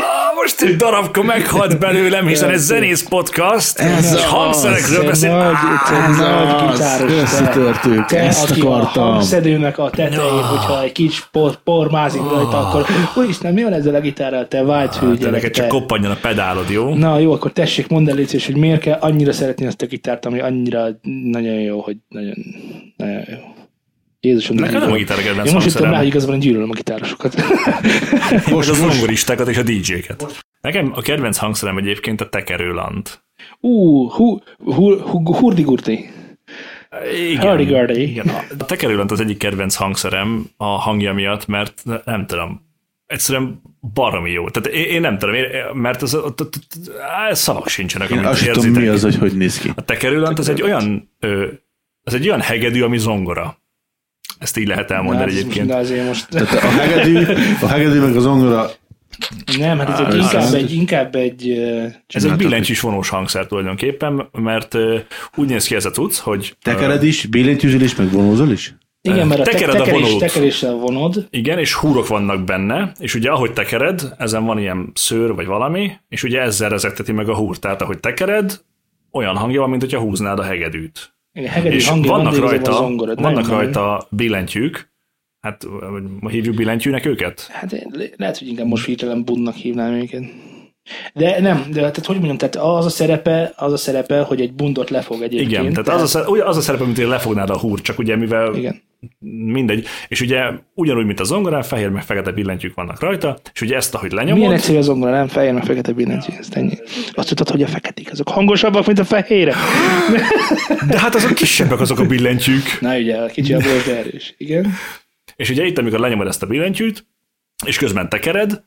Speaker 3: Á, Most egy darabka meghalt belőlem, hiszen ez zenész podcast,
Speaker 4: Ez
Speaker 3: és
Speaker 4: az.
Speaker 3: hangszerekről
Speaker 2: Te
Speaker 3: beszél.
Speaker 2: nagy,
Speaker 3: Á,
Speaker 2: te nagy gitáros, te.
Speaker 4: Összetörtük.
Speaker 2: Te,
Speaker 4: Ezt
Speaker 2: aki A
Speaker 4: akartam.
Speaker 2: hangszedőnek a tetején, hogyha egy kicsi por, por mázik rajta, akkor úristen, mi van ezzel a gitárral, te vágyhű
Speaker 3: De neked
Speaker 2: gyerek,
Speaker 3: Ah. Hát, csak
Speaker 2: te.
Speaker 3: koppanjon a pedálod, jó?
Speaker 2: Na jó, akkor tessék, mondd el légy szíves, hogy miért kell annyira szeretni azt a gitárt, ami annyira nagyon jó, hogy nagyon, nagyon jó. Jézusom,
Speaker 3: Nekem nem a gitár a kedvenc
Speaker 2: Én most jöttem rá,
Speaker 3: hangszerem.
Speaker 2: hogy igazából én gyűlölöm a gitárosokat.
Speaker 3: Most, az zongoristákat és a DJ-ket. Nekem a kedvenc hangszerem egyébként a tekerőlant.
Speaker 2: Ú, hú, hú, hú, hurdi-gurdi.
Speaker 3: Igen,
Speaker 2: Hurdy-gurdy.
Speaker 3: igen, a- a tekerőlant az egyik kedvenc hangszerem a hangja miatt, mert ne- nem tudom, egyszerűen baromi jó. Tehát én, én nem tudom, én, mert az, ott, ott, ott, á, szavak sincsenek,
Speaker 4: Én
Speaker 3: amit
Speaker 4: azt sem
Speaker 3: érzitek.
Speaker 4: tudom, mi az, hogy hogy néz ki.
Speaker 3: A tekerőlant az egy olyan, ö, az egy olyan hegedű, ami zongora. Ezt így lehet elmondani egyébként.
Speaker 2: De azért Hát, most...
Speaker 4: Tehát a hegedű, a hegedű meg a zongora
Speaker 2: Nem, hát ez egy, inkább, egy, inkább egy... ö,
Speaker 3: Ez egy
Speaker 4: Csináltak
Speaker 3: billentyűs vonós hangszer tulajdonképpen, mert ö, úgy néz ki ez a cucc, hogy ö,
Speaker 4: tekered is, billentyűzöl is, meg vonózol is?
Speaker 2: Igen, mert a te-
Speaker 3: Tekered a
Speaker 2: tekerés,
Speaker 3: vonót.
Speaker 2: tekeréssel vonod,
Speaker 3: Igen, és húrok vannak benne, és ugye ahogy tekered, ezen van ilyen szőr vagy valami, és ugye ezzel rezekteti meg a húrt. Tehát ahogy tekered, olyan hangja van, mint hogyha húznád a hegedűt.
Speaker 2: igen, hegedű
Speaker 3: és
Speaker 2: hangja van,
Speaker 3: vannak
Speaker 2: de igazából
Speaker 3: rajta,
Speaker 2: a zongorod.
Speaker 3: vannak
Speaker 2: nem, nem.
Speaker 3: rajta billentyűk, hát vagy ma hívjuk billentyűnek őket?
Speaker 2: Hát le- lehet, hogy inkább most hirtelen bunnak hívnám őket. De nem, de tehát hogy mondjam, tehát az a szerepe, az a szerepe, hogy egy bundot lefog egyébként.
Speaker 3: Igen, tehát az a, szer- ugye az a szerepe, mint hogy lefognád a húrt, csak ugye mivel
Speaker 2: Igen.
Speaker 3: mindegy, és ugye ugyanúgy, mint a zongorán, fehér meg fekete billentyűk vannak rajta, és ugye ezt, ahogy lenyomod,
Speaker 2: Milyen egyszerű az ongora, nem fehér, meg fekete billentyű, ezt ennyi. Azt tudod, hogy a feketék azok hangosabbak, mint a fehérek.
Speaker 3: de hát azok kisebbek azok a billentyűk.
Speaker 2: Na ugye, kicsi a bőr, de erős. Igen.
Speaker 3: És ugye itt, amikor lenyomod ezt a billentyűt, és közben tekered,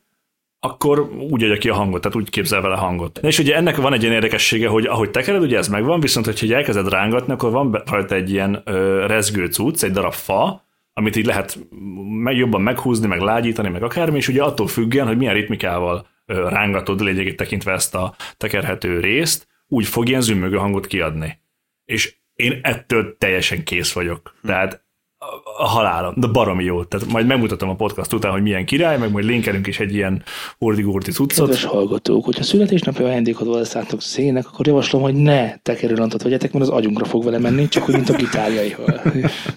Speaker 3: akkor úgy adja ki a hangot, tehát úgy képzel vele hangot. Na és ugye ennek van egy ilyen érdekessége, hogy ahogy tekered, ugye ez megvan, viszont hogyha így elkezded rángatni, akkor van be- rajta egy ilyen ö, rezgő cucc, egy darab fa, amit így lehet meg jobban meghúzni, meg lágyítani, meg akármi, és ugye attól függően, hogy milyen ritmikával ö, rángatod lényegét tekintve ezt a tekerhető részt, úgy fog ilyen zümmögő hangot kiadni. És én ettől teljesen kész vagyok. Tehát a- a halálom, de baromi jó. Tehát majd megmutatom a podcast után, hogy milyen király, meg majd linkelünk is egy ilyen ordi-gurti cuccot.
Speaker 2: Kedves hallgatók, hogyha születésnapi ajándékot odaszálltok szének, akkor javaslom, hogy ne tekerőlantot vegyetek, mert az agyunkra fog vele menni, csak úgy, mint a gitárjaival.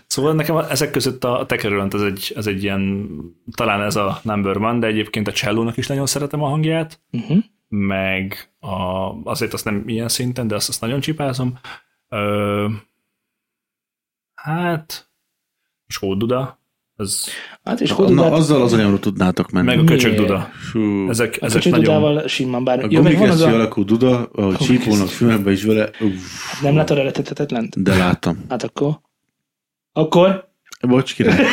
Speaker 3: Szóval nekem a- ezek között a, a tekerőlent ez egy, ez egy ilyen, talán ez a number one, de egyébként a csellónak is nagyon szeretem a hangját,
Speaker 2: Uh-huh.
Speaker 3: meg a, azért azt nem ilyen szinten, de azt, azt nagyon csipázom. Ö, hát, Sóduda, ez,
Speaker 2: Hát és hogy
Speaker 4: Na, azzal az anyamról tudnátok menni.
Speaker 3: meg a
Speaker 2: Miért?
Speaker 3: köcsög duda.
Speaker 4: Fú.
Speaker 3: Ezek,
Speaker 2: a
Speaker 3: ezek nagyon...
Speaker 2: tudával simán bár.
Speaker 4: A
Speaker 2: Ja, meg van az
Speaker 4: gumikesztyű
Speaker 2: a...
Speaker 4: alakú duda, ahogy
Speaker 2: Gumikesztyű.
Speaker 4: csípónak fülembe is vele, uff,
Speaker 2: Nem látod a letetetetlent?
Speaker 4: de láttam.
Speaker 2: Hát akkor... Akkor?
Speaker 4: Bocs, király.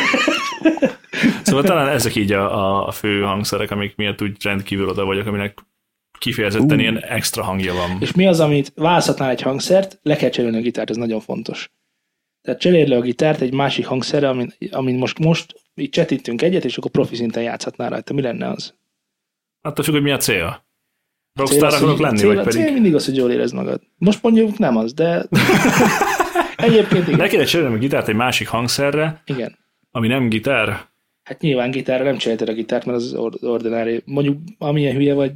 Speaker 3: Szóval talán ezek így a, a- a fő hangszerek, amik miatt úgy rendkívül oda vagyok, aminek kifejezetten
Speaker 4: Ú.
Speaker 3: ilyen extra hangja van.
Speaker 2: És mi az, amit választhatnál egy hangszert, le kell cserélni a gitárt, ez nagyon fontos. Tehát cseréld le a gitárt egy másik hangszerre, amin, amin most, most így csetítünk egyet, és akkor profi szinten játszhatnál rajta. Mi lenne az?
Speaker 3: Attól függ, hogy mi a cél.
Speaker 2: Cél
Speaker 3: Rockstar
Speaker 2: az,
Speaker 3: akarok
Speaker 2: hogy-
Speaker 3: lenni,
Speaker 2: cél,
Speaker 3: vagy
Speaker 2: A cél
Speaker 3: pedig...
Speaker 2: mindig az, hogy jól érezd magad. Most mondjuk nem az, de egyébként
Speaker 3: Le
Speaker 2: igen.
Speaker 3: kéne cserélnem a gitárt egy másik hangszerre,
Speaker 2: igen.
Speaker 3: ami nem gitár.
Speaker 2: Hát nyilván gitárra nem cserélted a gitárt, mert az or- ordinári. Mondjuk amilyen hülye vagy,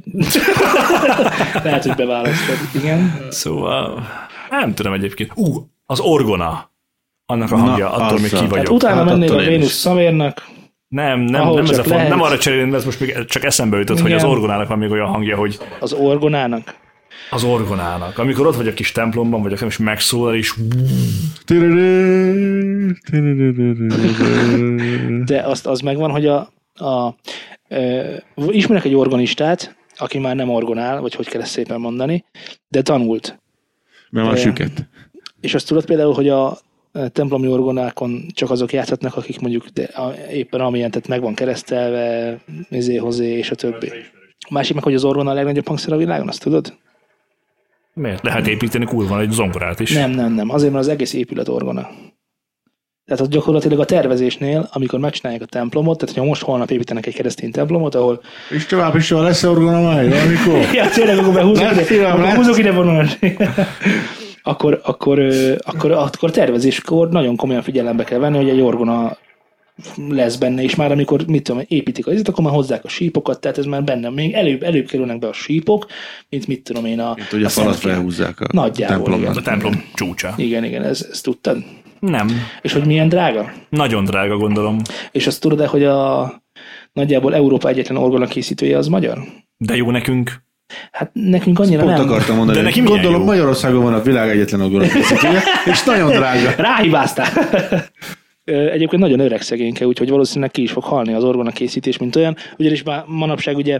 Speaker 2: lehet, hogy beválasztod. Igen.
Speaker 3: Szóval nem tudom egyébként. Ú, az orgona. annak a
Speaker 4: Na,
Speaker 3: hangja, attól még
Speaker 4: azzal.
Speaker 3: ki vagyok.
Speaker 2: Hát utána
Speaker 4: Hát
Speaker 2: mennék a
Speaker 4: attól én is.
Speaker 2: Vénusz Szamérnak,
Speaker 3: nem, nem,
Speaker 2: ahol
Speaker 3: nem ez
Speaker 2: csak
Speaker 3: a font,
Speaker 2: lehet.
Speaker 3: nem arra cserélni, de ez most még csak eszembe jutott, hogy
Speaker 2: Igen.
Speaker 3: az orgonának van még olyan hangja, hogy
Speaker 2: az Orgonának.
Speaker 3: az orgonának. Amikor ott vagy a kis templomban, vagy akár is megszólal, és
Speaker 2: De azt, az megvan, hogy a, a ö, ismerek egy organistát, aki már nem orgonál, vagy hogy kell ezt szépen mondani, de tanult.
Speaker 4: Mert van
Speaker 2: Igen.
Speaker 4: süket.
Speaker 2: És azt tudod például, hogy a ö, templomi orgonákon csak azok játszhatnak, akik mondjuk de, a, éppen amilyen, tehát meg van keresztelve, izé, hozé, és a többi. A másik meg, hogy az orgona a legnagyobb hangszer a világon, azt tudod?
Speaker 3: miért? Lehet építeni kurva egy zongorát is.
Speaker 2: Nem, nem, nem. Azért, mert az egész épület orgona. Tehát ott gyakorlatilag a tervezésnél, amikor megcsinálják a templomot, tehát ha most holnap építenek egy keresztény templomot, ahol
Speaker 4: És tovább is soha lesz orgona majd, amikor?
Speaker 2: Ja, tényleg, akkor behúzok
Speaker 4: Nem,
Speaker 2: ide,
Speaker 4: szívem,
Speaker 2: akkor
Speaker 4: nem.
Speaker 2: húzok ide vonalat. akkor, akkor, ö, akkor, akkor tervezéskor nagyon komolyan figyelembe kell venni, hogy egy orgona lesz benne, és már amikor mit tudom, én, építik az izet, akkor már hozzák a sípokat, tehát ez már benne, még előbb, előbb kerülnek be a sípok, mint mit tudom én a...
Speaker 4: Itt ugye a falat
Speaker 2: szentkér.
Speaker 4: felhúzzák a
Speaker 2: Nagyjából,
Speaker 3: A
Speaker 4: templomban.
Speaker 3: templom csúcsa.
Speaker 2: Igen, igen, ez, ezt tudtad?
Speaker 3: Nem.
Speaker 2: És hogy milyen drága?
Speaker 3: Nagyon drága, gondolom.
Speaker 2: És azt tudod-e, hogy a nagyjából Európa egyetlen orgona készítője az magyar?
Speaker 3: De jó nekünk.
Speaker 2: Hát nekünk annyira
Speaker 4: Pont
Speaker 2: nem.
Speaker 4: akartam mondani,
Speaker 3: De
Speaker 4: hogy
Speaker 3: neki milyen
Speaker 4: gondolom
Speaker 3: jó?
Speaker 4: Magyarországon van a világ egyetlen orgona készítője, és nagyon drága.
Speaker 2: Ráhibáztál! Ö, Egyébként nagyon öreg szegényke, úgyhogy valószínűleg ki is fog halni az orgona készítés, mint olyan. Ugyanis már manapság ugye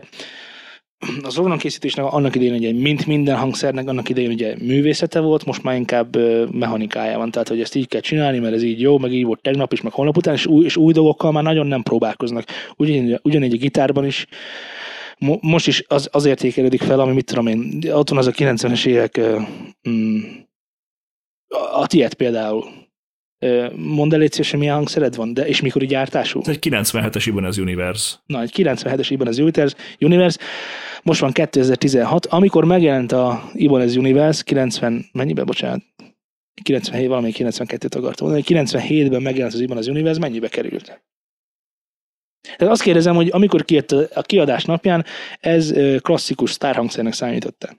Speaker 2: az orgona készítésnek annak idején ugye, mint minden hangszernek, annak idején ugye művészete volt, most már inkább ö, mechanikája van, tehát hogy ezt így kell csinálni, mert ez így jó, meg így volt tegnap is, meg holnap után, és új, és új dolgokkal már nagyon nem próbálkoznak. Ugyanígy, ugyanígy a gitárban is mo- most is az, az értékelődik fel, ami mit tudom én, ott van az a 90-es évek ö, mm, a, a tiéd például. Ö, Mondd el, légy szíves, hogy milyen hangszered van, de és mikor így gyártású?
Speaker 3: Ez egy 97-es Ibanez Universe.
Speaker 2: Na, egy 97-es Ibanez Universe, Universe, most van 2016, amikor megjelent a Ibanez Universe, 90, mennyiben, bocsánat? 97, valami 92-t akartam mondani, 97-ben megjelent az Ibanez Universe, mennyibe került? Tehát azt kérdezem, hogy amikor kijött a a kiadás napján, ez ö, klasszikus sztárhangszernek számította.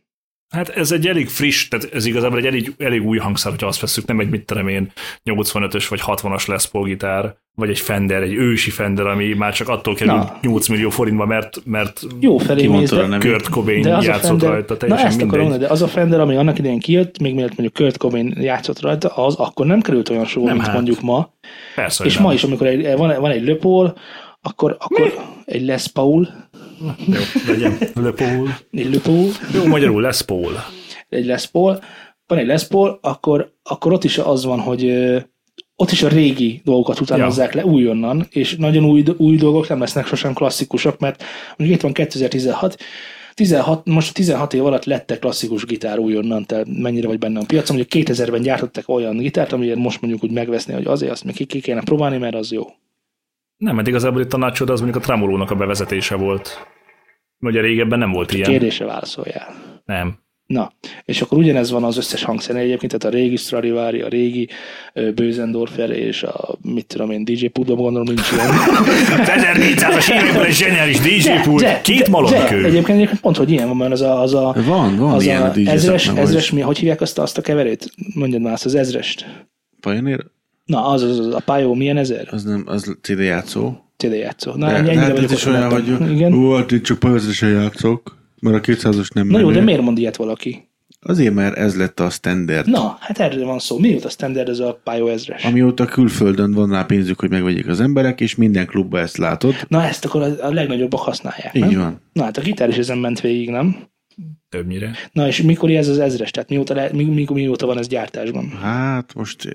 Speaker 3: Hát ez egy elég friss, tehát ez igazából egy elég, elég új hangszer, hogyha azt veszük, nem egy mit tudom én, 85-ös vagy 60-as lesz polgitár, vagy egy Fender, egy ősi Fender, ami már csak attól kerül
Speaker 2: Na.
Speaker 3: 8 millió forintba, mert, mert
Speaker 2: Jó felé mész,
Speaker 4: Kimondta
Speaker 2: de
Speaker 4: a nevét.
Speaker 3: Kurt Cobain játszott rajta,
Speaker 2: na
Speaker 3: teljesen
Speaker 2: ezt akarom
Speaker 3: mindegy.
Speaker 2: mondani, de az a Fender, ami annak idején kijött, még mielőtt mondjuk Kurt Cobain játszott rajta, az akkor nem került olyan sokba,
Speaker 3: Nem,
Speaker 2: mint
Speaker 3: hát.
Speaker 2: mondjuk ma.
Speaker 3: Persze, hogy
Speaker 2: És
Speaker 3: nem.
Speaker 2: ma is, amikor egy, van, van egy löpol, akkor, akkor egy Les Paul,
Speaker 3: Jó, legyen. Le Paul.
Speaker 2: egy löpol,
Speaker 3: Jó, magyarul lesz Paul.
Speaker 2: egy Les Paul, van egy Les Paul, akkor, akkor ott is az van, hogy ö, ott is a régi dolgokat utánozzák ja. le újonnan, és nagyon új, új dolgok nem lesznek sosem klasszikusak, mert mondjuk itt van 2016, 16, most 16 év alatt lettek klasszikus gitár újonnan, te mennyire vagy benne a piacon, mondjuk 2000-ben gyártottak olyan gitárt, amiért most mondjuk úgy megveszni, hogy azért azt még ki, ki kéne próbálni, mert az jó.
Speaker 3: Nem, mert igazából itt a nagy csoda az mondjuk a tremolónak a bevezetése volt. Ugye régebben nem volt ilyen.
Speaker 2: Kérdésre válaszoljál.
Speaker 3: Nem.
Speaker 2: Na, és akkor ugyanez van az összes hangszeren egyébként, tehát a régi Stradivari, a régi ö, Bösendorfer és a mit tudom én, DJ Pubban gondolom nincs ilyen.
Speaker 3: 1400-as években egy zseniális DJ pult, két
Speaker 2: De,
Speaker 3: malomkő.
Speaker 2: egyébként, egyébként pont, hogy ilyen van, mert az a, az a
Speaker 4: Van, van
Speaker 2: az
Speaker 4: ilyen a
Speaker 2: a
Speaker 4: DJ
Speaker 2: ezres,
Speaker 4: szakmában
Speaker 2: ezres
Speaker 4: is.
Speaker 2: mi, hogy hívják azt, azt a keverőt? Mondjad már azt az ezrest.
Speaker 4: Pioneer?
Speaker 2: Na, az, az, az a pályó milyen ezer?
Speaker 4: Az nem, az CD játszó.
Speaker 2: CD játszó. Na,
Speaker 4: De,
Speaker 2: ennyire
Speaker 4: de hát
Speaker 2: vagyok
Speaker 4: ez is
Speaker 2: ott
Speaker 4: olyan,
Speaker 2: ebben.
Speaker 4: hogy
Speaker 2: Igen.
Speaker 4: hú, hát itt csak pajzresen játszok, mert a 200-os nem
Speaker 2: Na jó, de
Speaker 4: menő.
Speaker 2: miért mond ilyet valaki?
Speaker 4: Azért, mert ez lett a standard.
Speaker 2: Na, hát erről van szó. Mióta standard ez a pályó ezres?
Speaker 4: Amióta külföldön van rá pénzük, hogy megvegyék az emberek, és minden klubban ezt látod.
Speaker 2: Na ezt akkor a, a legnagyobbak használják, nem?
Speaker 4: Így van.
Speaker 2: Na hát a gitár is ezen ment végig, nem?
Speaker 3: Többnyire.
Speaker 2: Na és mikor ez az ezres? Tehát mióta, le, mi, mi, mióta van ez gyártásban?
Speaker 4: Hát most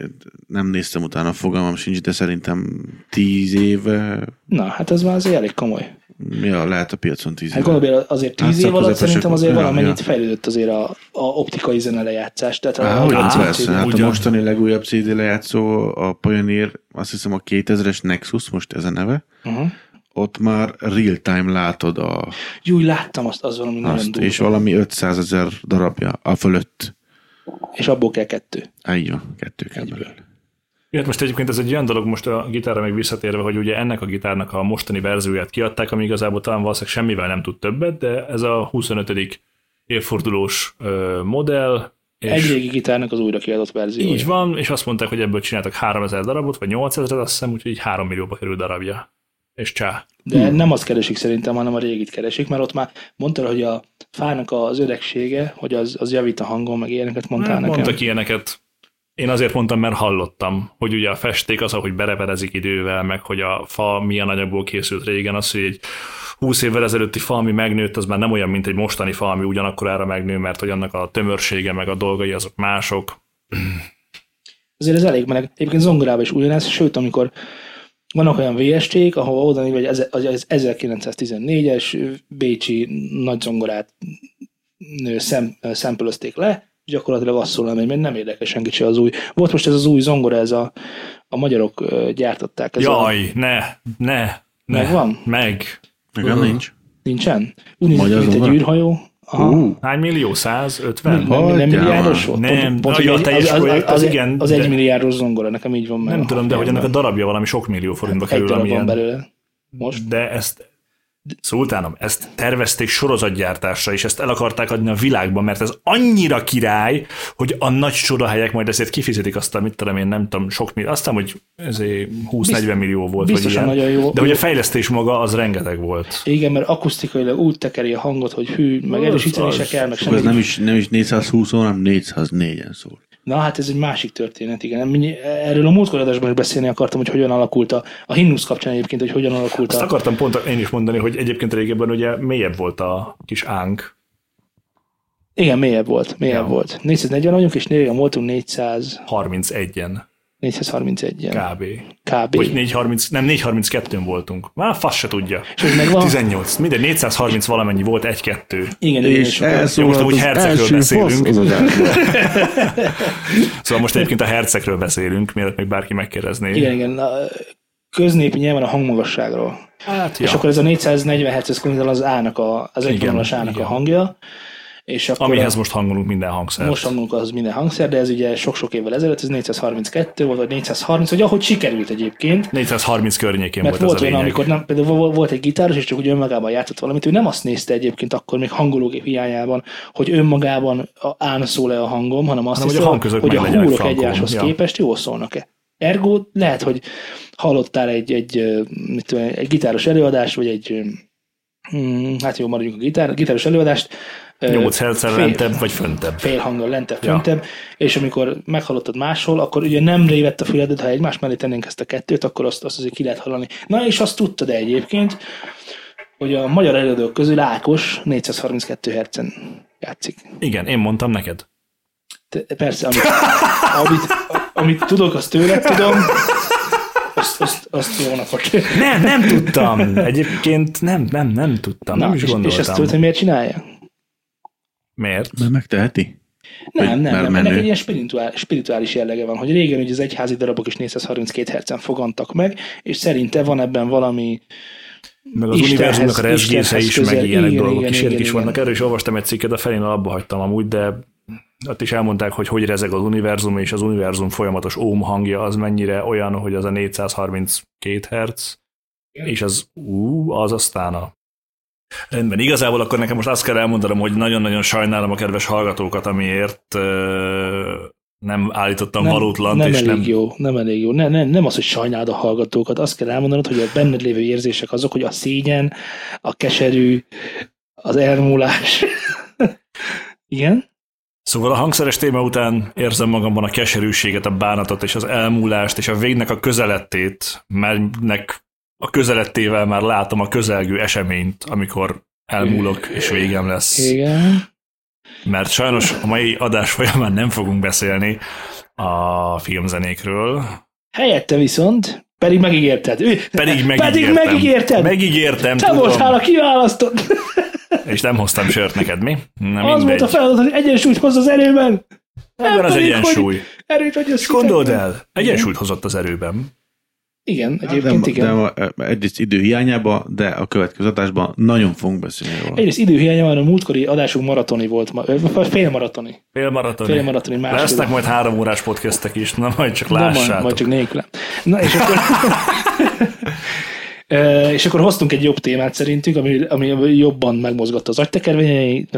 Speaker 4: nem néztem utána, fogalmam sincs, de szerintem tíz éve,
Speaker 2: Na, hát ez már azért elég komoly.
Speaker 4: mi a lehet a piacon tíz
Speaker 2: Hát
Speaker 4: éve?
Speaker 2: gondolom, hogy azért
Speaker 4: Hát
Speaker 2: tíz év alatt
Speaker 4: szakközepesek
Speaker 2: szerintem azért
Speaker 4: voltak,
Speaker 2: valamennyit
Speaker 4: ja.
Speaker 2: fejlődött azért a, a optikai zenelejátszás. Tehát a,
Speaker 4: Á,
Speaker 2: a,
Speaker 4: hogy
Speaker 3: Á,
Speaker 4: hát,
Speaker 3: CD.
Speaker 4: persze, hát
Speaker 3: Ugyan.
Speaker 4: a mostani legújabb CD lejátszó, a Pioneer, azt hiszem a 2000-es Nexus, most ez a neve,
Speaker 2: uh-huh.
Speaker 4: ott már real-time látod a,
Speaker 2: Júj, láttam azt, az valami nagyon
Speaker 4: azt,
Speaker 2: durva.
Speaker 4: és
Speaker 2: És,
Speaker 4: valami 500 ezer darabja a fölött.
Speaker 2: és abból kell kettő.
Speaker 4: Á, így van, kettő kell belőle.
Speaker 3: Ja, hát most egyébként ez egy olyan dolog most a gitárra még visszatérve, hogy ugye ennek a gitárnak a mostani verzióját kiadták, ami igazából talán valószínűleg semmivel nem tud többet, de ez a 25. évfordulós ö, modell,
Speaker 2: Egy régi gitárnak az újra kiadott verziója.
Speaker 3: Így van, és azt mondták, hogy ebből csináltak 3000 darabot, vagy 8000 azt hiszem, úgyhogy így 3 millióba kerül darabja. És csá.
Speaker 2: De hmm. nem azt keresik szerintem, hanem a régit keresik, mert ott már mondtad, hogy a fának az öregsége, hogy az, az javít a hangon, meg ilyeneket mondtál
Speaker 3: Hát
Speaker 2: nekem.
Speaker 3: mondtak ilyeneket. Én azért mondtam, mert hallottam, hogy ugye a festék az, ahogy bereperezik idővel, meg hogy a fa milyen anyagból készült régen, az, hogy egy 20 évvel ezelőtti fa, ami megnőtt, az már nem olyan, mint egy mostani fa, ami ugyanakkor ára megnő, mert hogy annak a tömörsége, meg a dolgai azok mások.
Speaker 2: Azért ez elég meleg. Egyébként zongorában is ugyanez, sőt, amikor vannak olyan VST-k, ahova oda vagy az az 1914-es bécsi nagy zongorát nő szem, szempölözték le, és gyakorlatilag azt szól, hogy nem érdekel senki se az új. Volt most ez az új zongora, ez a, a magyarok ö, gyártották. Ez A,
Speaker 3: Jaj, ne, ne, ne.
Speaker 2: Megvan?
Speaker 3: Meg.
Speaker 4: Nekem nincs.
Speaker 2: nincsen? Úgy nézett ki,
Speaker 4: Magyar
Speaker 2: mint egy
Speaker 4: zongora?
Speaker 2: űrhajó. Aha.
Speaker 3: Hány millió? 150?
Speaker 2: Nem, nem, nem
Speaker 4: Hagyjál
Speaker 2: milliárdos
Speaker 4: már.
Speaker 2: volt?
Speaker 3: Nem, na,
Speaker 2: hogy
Speaker 3: ja,
Speaker 2: egy-
Speaker 3: teljes projekt, az
Speaker 2: az,
Speaker 3: igen,
Speaker 2: Az
Speaker 3: de-
Speaker 2: egy milliárdos zongora, nekem így van meg.
Speaker 3: Nem
Speaker 2: a
Speaker 3: tudom, de hogy ennek
Speaker 2: fejemben.
Speaker 3: a darabja valami sok millió forintba
Speaker 2: Hát Egy
Speaker 3: kerül,
Speaker 2: darab van
Speaker 3: amilyen.
Speaker 2: belőle. Most
Speaker 3: De ezt, szultánom, ezt tervezték sorozatgyártásra, és ezt el akarták adni a világban, mert ez annyira király, hogy a nagy csodahelyek majd ezért kifizetik azt, amit tudom én, nem tudom, sok millió, aztán, hogy ezért 20-40 millió volt, vagy
Speaker 2: biztosan
Speaker 3: ilyen.
Speaker 2: nagyon jó-
Speaker 3: de hogy a fejlesztés maga, az rengeteg volt.
Speaker 2: Igen, mert akusztikailag úgy tekeri a hangot, hogy hű, meg erősíteni
Speaker 3: az-
Speaker 2: se kell, meg
Speaker 4: Fú, ez
Speaker 2: semmi.
Speaker 4: nem is, nem is 420 hanem 404-en szól.
Speaker 2: Na hát ez egy másik történet, igen. Mindj- Erről a múltkor adásban is beszélni akartam, hogy hogyan alakult a, a himnusz kapcsán egyébként, hogy hogyan alakult
Speaker 3: Azt
Speaker 2: a...
Speaker 3: akartam pont én is mondani, hogy egyébként régebben ugye mélyebb volt a kis ánk.
Speaker 2: Igen, mélyebb volt, mélyebb
Speaker 3: Ja.
Speaker 2: volt. 440 vagyunk, és régen voltunk 400,
Speaker 3: 31-en
Speaker 2: 431-en.
Speaker 3: kb.
Speaker 2: Kb.
Speaker 3: Vagy 430, nem, 432-n voltunk. Már fasz se tudja.
Speaker 2: És hogy megvan?
Speaker 3: 18, minden 430 valamennyi volt, egy-kettő.
Speaker 2: Igen, igen,
Speaker 4: És
Speaker 2: és
Speaker 4: ez
Speaker 3: Jó, most amúgy
Speaker 4: az
Speaker 3: hercegről
Speaker 4: első
Speaker 3: beszélünk.
Speaker 4: fasz az adásban.
Speaker 3: Szóval most egyébként a hercegről beszélünk, mielőtt még bárki megkérdezné.
Speaker 2: igen, igen. a- Köznépi nyelven a hangmagasságról.
Speaker 3: Hát, ja.
Speaker 2: És akkor ez a 447 ez konkrétan az A-nak a, az egyvonalas
Speaker 3: Igen,
Speaker 2: A-nak a
Speaker 3: igen.
Speaker 2: hangja. És akkor
Speaker 3: Amihez most hangolunk minden hangszert.
Speaker 2: Most hangolunk az minden hangszer, de ez ugye sok-sok évvel ezelőtt, ez 432 volt, vagy 430, vagy ahogy sikerült egyébként.
Speaker 3: 430 környékén
Speaker 2: Mert
Speaker 3: volt,
Speaker 2: volt
Speaker 3: ez a
Speaker 2: olyan,
Speaker 3: lényeg.
Speaker 2: amikor nem, például vol- volt egy gitáros, és csak úgy önmagában játszott valamit, ő nem azt nézte egyébként akkor még hangológép hiányában, hogy önmagában a- án szól-e a hangom, hanem azt
Speaker 3: Hanem, hogy a
Speaker 2: hiszem,
Speaker 3: hangközök
Speaker 2: hogy a
Speaker 3: meglegyenek
Speaker 2: húrok
Speaker 3: frankon.
Speaker 2: egymáshoz
Speaker 3: Ja.
Speaker 2: képest jól szólnak-e. Ergo lehet, hogy hallottál egy, egy, ö, mit tudom, én, egy gitáros előadást, vagy egy, ö, mm, hát jó, maradjunk a gitár, gitáros előadást, ö,
Speaker 3: 8 herccel
Speaker 2: fél-
Speaker 3: lentebb vagy föntebb.
Speaker 2: fél hangon lentebb,
Speaker 3: Ja.
Speaker 2: föntebb, és amikor meghallottad máshol, akkor ugye nem révett a füledet, ha egymás mellé tennénk ezt a kettőt, akkor azt, azt azért ki lehet hallani. Na és azt tudtad -e egyébként, hogy a magyar előadók közül Ákos 432 hercen játszik.
Speaker 3: Igen, én mondtam neked.
Speaker 2: Te, persze, amit, amit, amit, tudok, azt tőled tudom, azt, azt, azt jónak vagy.
Speaker 3: Nem, nem tudtam. Egyébként nem, nem, nem tudtam.
Speaker 2: Na,
Speaker 3: nem is
Speaker 2: és, és
Speaker 3: gondoltam.
Speaker 2: ezt tudod, hogy miért csinálja?
Speaker 3: Miért?
Speaker 4: Mert megteheti?
Speaker 2: Nem,
Speaker 4: Vagy
Speaker 2: nem,
Speaker 4: már
Speaker 2: nem. Ennek
Speaker 4: menő.
Speaker 2: egy ilyen spirituál, spirituális jellege van, hogy régen ugye az egyházi darabok is 432 hercen fogantak meg, és szerinte van ebben valami,
Speaker 3: Meg az
Speaker 2: Istenhez-
Speaker 3: univerzumnak a rezgése
Speaker 2: Istenhez
Speaker 3: is,
Speaker 2: közel.
Speaker 3: meg ilyenek
Speaker 2: Igen,
Speaker 3: dolgok
Speaker 2: igen,
Speaker 3: kísérletek
Speaker 2: igen,
Speaker 3: is
Speaker 2: igen.
Speaker 3: vannak. Erről is olvastam egy cikket, a felén abba hagytam amúgy, de ott is elmondták, hogy hogy rezeg az univerzum, és az univerzum folyamatos óm hangja az mennyire olyan, hogy az a 432 hertz, és az ú, az aztán a Rendben, igazából akkor nekem most azt kell elmondanom, hogy nagyon-nagyon sajnálom a kedves hallgatókat, amiért ö, nem állítottam
Speaker 2: nem,
Speaker 3: valótlant,
Speaker 2: nem
Speaker 3: és
Speaker 2: elég
Speaker 3: nem
Speaker 2: jó, nem elég jó. Ne, ne, nem az, hogy sajnálod a hallgatókat, azt kell elmondanod, hogy a benned lévő érzések azok, hogy a szégyen, a keserű, az elmúlás. Igen?
Speaker 3: Szóval a hangszeres téma után érzem magamban a keserűséget, a bánatot és az elmúlást és a végnek a közelettét, mertnek a közelettével már látom a közelgő eseményt, amikor elmúlok és végem lesz.
Speaker 2: Igen.
Speaker 3: Mert sajnos a mai adás folyamán nem fogunk beszélni a filmzenékről,
Speaker 2: Helyette viszont, pedig megígérted. Ő-
Speaker 3: pedig megígértem.
Speaker 2: Pedig megígérted.
Speaker 3: Megígértem,
Speaker 2: Te
Speaker 3: tudom.
Speaker 2: voltál a kiválasztott.
Speaker 3: És nem hoztam sört neked, mi? Na
Speaker 2: Az
Speaker 3: mindegy.
Speaker 2: volt a feladat, hogy egyensúlyt hozz az erőben.
Speaker 3: Ebben az
Speaker 2: pedig, hogy
Speaker 3: egyensúly.
Speaker 2: Erőt vagy És
Speaker 3: Gondold el, egyensúlyt hozott az erőben.
Speaker 2: Igen,
Speaker 4: De,
Speaker 2: egyébként igen.
Speaker 4: de ma- egyrészt idő hiányában, de a következő adásban nagyon fogunk beszélni róla.
Speaker 2: Egyrészt időhiánya van, a múltkori adásunk maratoni volt, ma- vagy félmaratoni.
Speaker 3: Félmaratoni.
Speaker 2: Félmaratoni másfél.
Speaker 3: Lesznek majd három órás podcastek is, na majd csak
Speaker 2: Na,
Speaker 3: lássátok.
Speaker 2: Majd, majd csak nélkülem. Na és akkor... Ö, És akkor hoztunk egy jobb témát szerintünk, ami, ami jobban megmozgatta az agytekervényeit,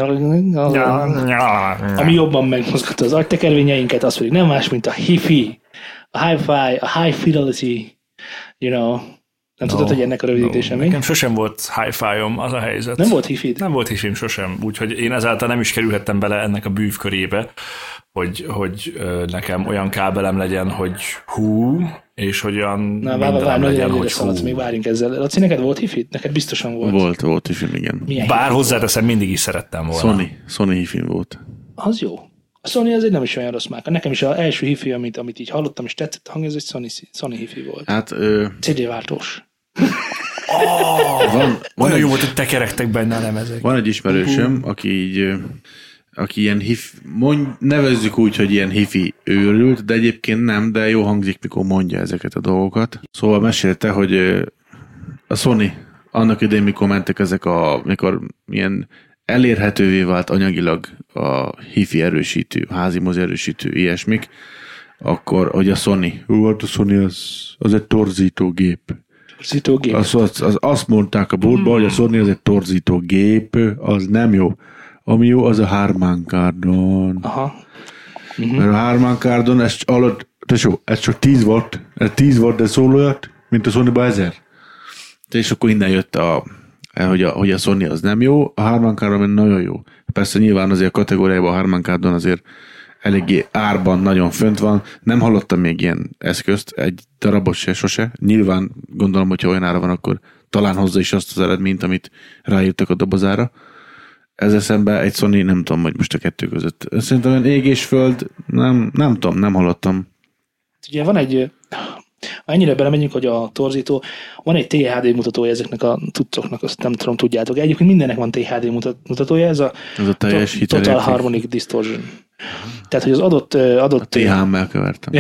Speaker 2: ami jobban megmozgatta az agytekervényeinket, az pedig nem más, mint a hifi, a hi-fi, a high fidelity, you know. Nem tudod, hogy ennek a rövidítése mi?
Speaker 3: Nekem sosem volt hi fi az a helyzet.
Speaker 2: Nem volt hifid?
Speaker 3: Nem volt hifim sosem, úgyhogy én ezáltal nem is kerülhettem bele ennek a bűvkörébe, hogy, hogy ö, nekem olyan kábelem legyen, hogy hú, és hogy olyan
Speaker 2: Na, várj, várj,
Speaker 3: mindenem
Speaker 2: nagyon
Speaker 3: legyen,
Speaker 2: előre
Speaker 3: hogy
Speaker 2: szaladsz, még
Speaker 3: hú.
Speaker 2: várjunk ezzel. Laci, neked volt hifid? Neked biztosan volt.
Speaker 4: Volt, volt is, igen.
Speaker 2: Milyen
Speaker 3: Bár hozzáteszem, mindig is szerettem volna.
Speaker 4: Sony, Sony hifin volt.
Speaker 2: Az jó. A Sony azért nem is olyan rossz márka. Nekem is az első hifi, amit, amit így hallottam és tetszett a hang, ez egy Sony, Sony hifi volt.
Speaker 4: Hát ö,
Speaker 2: CD váltós.
Speaker 4: van, van,
Speaker 3: Olyan
Speaker 4: egy,
Speaker 3: jó volt, hogy tekerektek benne a lemezek.
Speaker 4: van egy ismerősöm, aki így ö, aki ilyen hif, mondj, nevezzük úgy, hogy ilyen hifi őrült, de egyébként nem, de jó hangzik, mikor mondja ezeket a dolgokat. Szóval mesélte, hogy ö, a Sony annak idején, mikor mentek ezek a, mikor ilyen elérhetővé vált anyagilag a hifi erősítő, házi mozi erősítő, ilyesmik, akkor, hogy a Sony, hú, hát a Sony az, az egy torzítógép,
Speaker 2: Szítógép.
Speaker 4: Azt, azt, azt, azt mondták a boltban, hogy a Sony az egy torzító gép, az nem jó. Ami jó, az a Harman Kardon.
Speaker 2: Aha.
Speaker 4: Mert a Harman Kardon, ez c- alatt, tesó, ez csak 10 volt, ez 10 volt, de szól olyat, mint a sony 1000. És akkor innen jött a, eh, hogy a, hogy a Sony az nem jó, a Harman Kardon nagyon jó. Persze nyilván azért a kategóriában a Harman Kardon azért eléggé árban nagyon fönt van. Nem hallottam még ilyen eszközt, egy darabot se sose. Nyilván gondolom, hogyha olyan ára van, akkor talán hozza is azt az eredményt, amit ráírtak a dobozára. Ezzel szemben egy Sony, nem tudom, hogy most a kettő között. Szerintem olyan ég és föld, nem, nem tudom, nem hallottam.
Speaker 2: Ugye van egy, annyira belemegyünk, hogy a torzító, van egy THD mutatója ezeknek a cuccoknak, azt nem tudom, tudjátok. Egyébként mindennek van THD mutat- mutatója, ez a
Speaker 4: Ez a teljes
Speaker 2: to- Total
Speaker 4: hitelérték.
Speaker 2: Harmonic Distortion. Tehát, hogy az adott, adott
Speaker 4: THM-mel kevertem.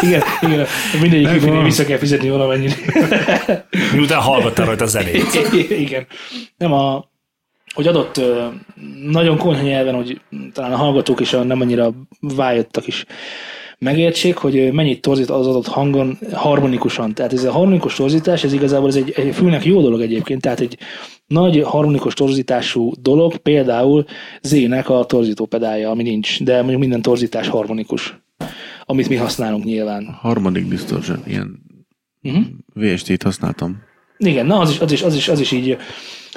Speaker 2: igen, igen, mindegyiküknél
Speaker 4: van.
Speaker 2: vissza kell fizetni valamennyit.
Speaker 3: Miután hallgattál rajta a zenét.
Speaker 2: Igen. Nem a, hogy adott ö, nagyon konyha nyelven, hogy talán a hallgatók is a nem annyira vájottak is megértsék, hogy ö, mennyit torzít az adott hangon harmonikusan. Tehát ez a harmonikus torzítás, ez igazából ez egy, egy fülnek jó dolog egyébként, tehát egy nagy harmonikus torzítású dolog, például zének a torzító pedálja, ami nincs, de mondjuk minden torzítás harmonikus, amit mi használunk nyilván.
Speaker 4: Harmadik distortion, ilyen
Speaker 2: Uh-huh.
Speaker 4: VST-t használtam.
Speaker 2: Igen, na az is, az is, az is, az is így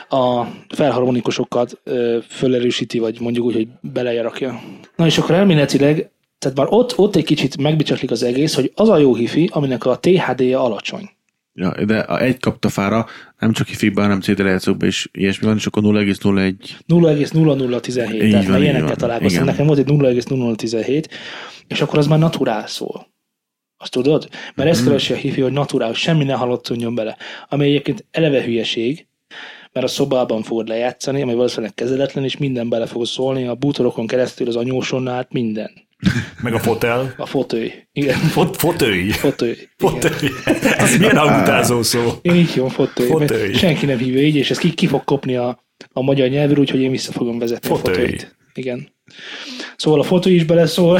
Speaker 2: a felharmonikusokat ö, fölerősíti, vagy mondjuk úgy, hogy belejarakja. Na és akkor elméletileg, tehát már ott, ott egy kicsit megbicsaklik az egész, hogy az a jó hifi, aminek a THD-je alacsony.
Speaker 4: Ja, de a egy kapta fára, nem csak hifigben, hanem CD lejátszókban is ilyesmi van, és akkor 0,01
Speaker 2: 0,0017,
Speaker 4: Így
Speaker 2: tehát
Speaker 4: van,
Speaker 2: már
Speaker 4: így
Speaker 2: ilyenekkel
Speaker 4: van.
Speaker 2: találkoztam.
Speaker 4: Igen.
Speaker 2: Nekem volt egy 0,0017, és akkor az már naturál szól. Azt tudod? Mert
Speaker 4: Mhm.
Speaker 2: ezt keresi a hifi, hogy naturál, hogy semmi ne hallotszódjon bele. Ami egyébként eleve hülyeség, mert a szobában fogod lejátszani, ami valószínűleg kezeletlen, és minden bele fog szólni, a bútorokon keresztül, az anyóson át, minden.
Speaker 3: Meg a fotel.
Speaker 2: A fotői. Igen,
Speaker 3: Fot, fotői.
Speaker 2: fotői. Igen.
Speaker 3: Fotői. Ez milyen hangutázó szó.
Speaker 2: Én így hívom fotői,
Speaker 3: Fotői.
Speaker 2: mert senki nem hívja így, és ez ki, ki fog kopni a, a magyar nyelvről, úgyhogy én vissza fogom vezetni
Speaker 3: Fotői.
Speaker 2: a fotőit. Igen. Szóval a fotó is beleszól.